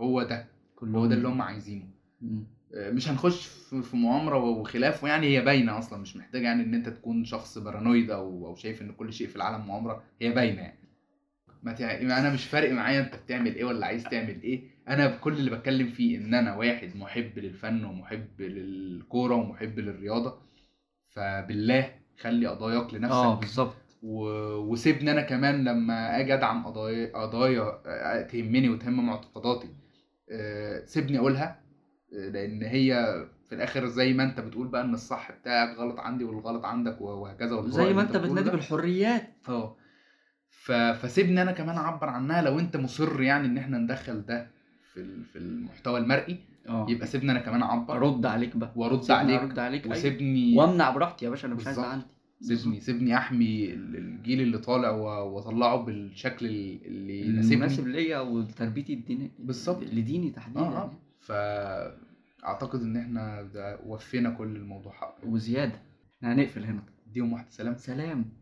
هو ده
كله
هو ده اللي هم عايزينه
مم.
آه، مش هنخش في في مؤامره وخلافه يعني هي باينه اصلا مش محتاجه يعني ان انت تكون شخص بارانويد او او شايف ان كل شيء في العالم مؤامره هي باينه يعني ما تع... ما انا مش فارق معايا انت بتعمل ايه ولا عايز تعمل ايه انا كل اللي بتكلم فيه ان انا واحد محب للفن ومحب للكوره ومحب للرياضه فبالله خلي قضاياك لنفسك
اه بالظبط
و... وسيبني انا كمان لما اجي ادعم قضايا قضايا آه، تهمني وتهم معتقداتي آه، سيبني اقولها آه، لان هي في الاخر زي ما انت بتقول بقى ان الصح بتاعك غلط عندي والغلط عندك وهكذا والبراءة
زي
اللي
ما انت
بتقوله
بتنادي
ده.
بالحريات
اه ف... فسيبني انا كمان اعبر عنها لو انت مصر يعني ان احنا ندخل ده في ال- في المحتوى المرئي
اه
يبقى سيبني انا كمان اعبر
ارد عليك بقى
وارد
سيبني
عليك
ارد عليك أيوة.
وسيبني
وامنع براحتي يا باشا انا مش عايز
بالظبط.
عندي
سيبني سيبني احمي ال- الجيل اللي طالع و- واطلعه بالشكل ال- اللي
المناسب
يناسبني
ليا وتربيتي الدينية
بالظبط.
لديني تحديدا
آه، آه.
يعني.
فاعتقد ان احنا ده وفينا كل الموضوع حقه
وزياده احنا هنقفل هنا
ديهم واحد سلام
سلام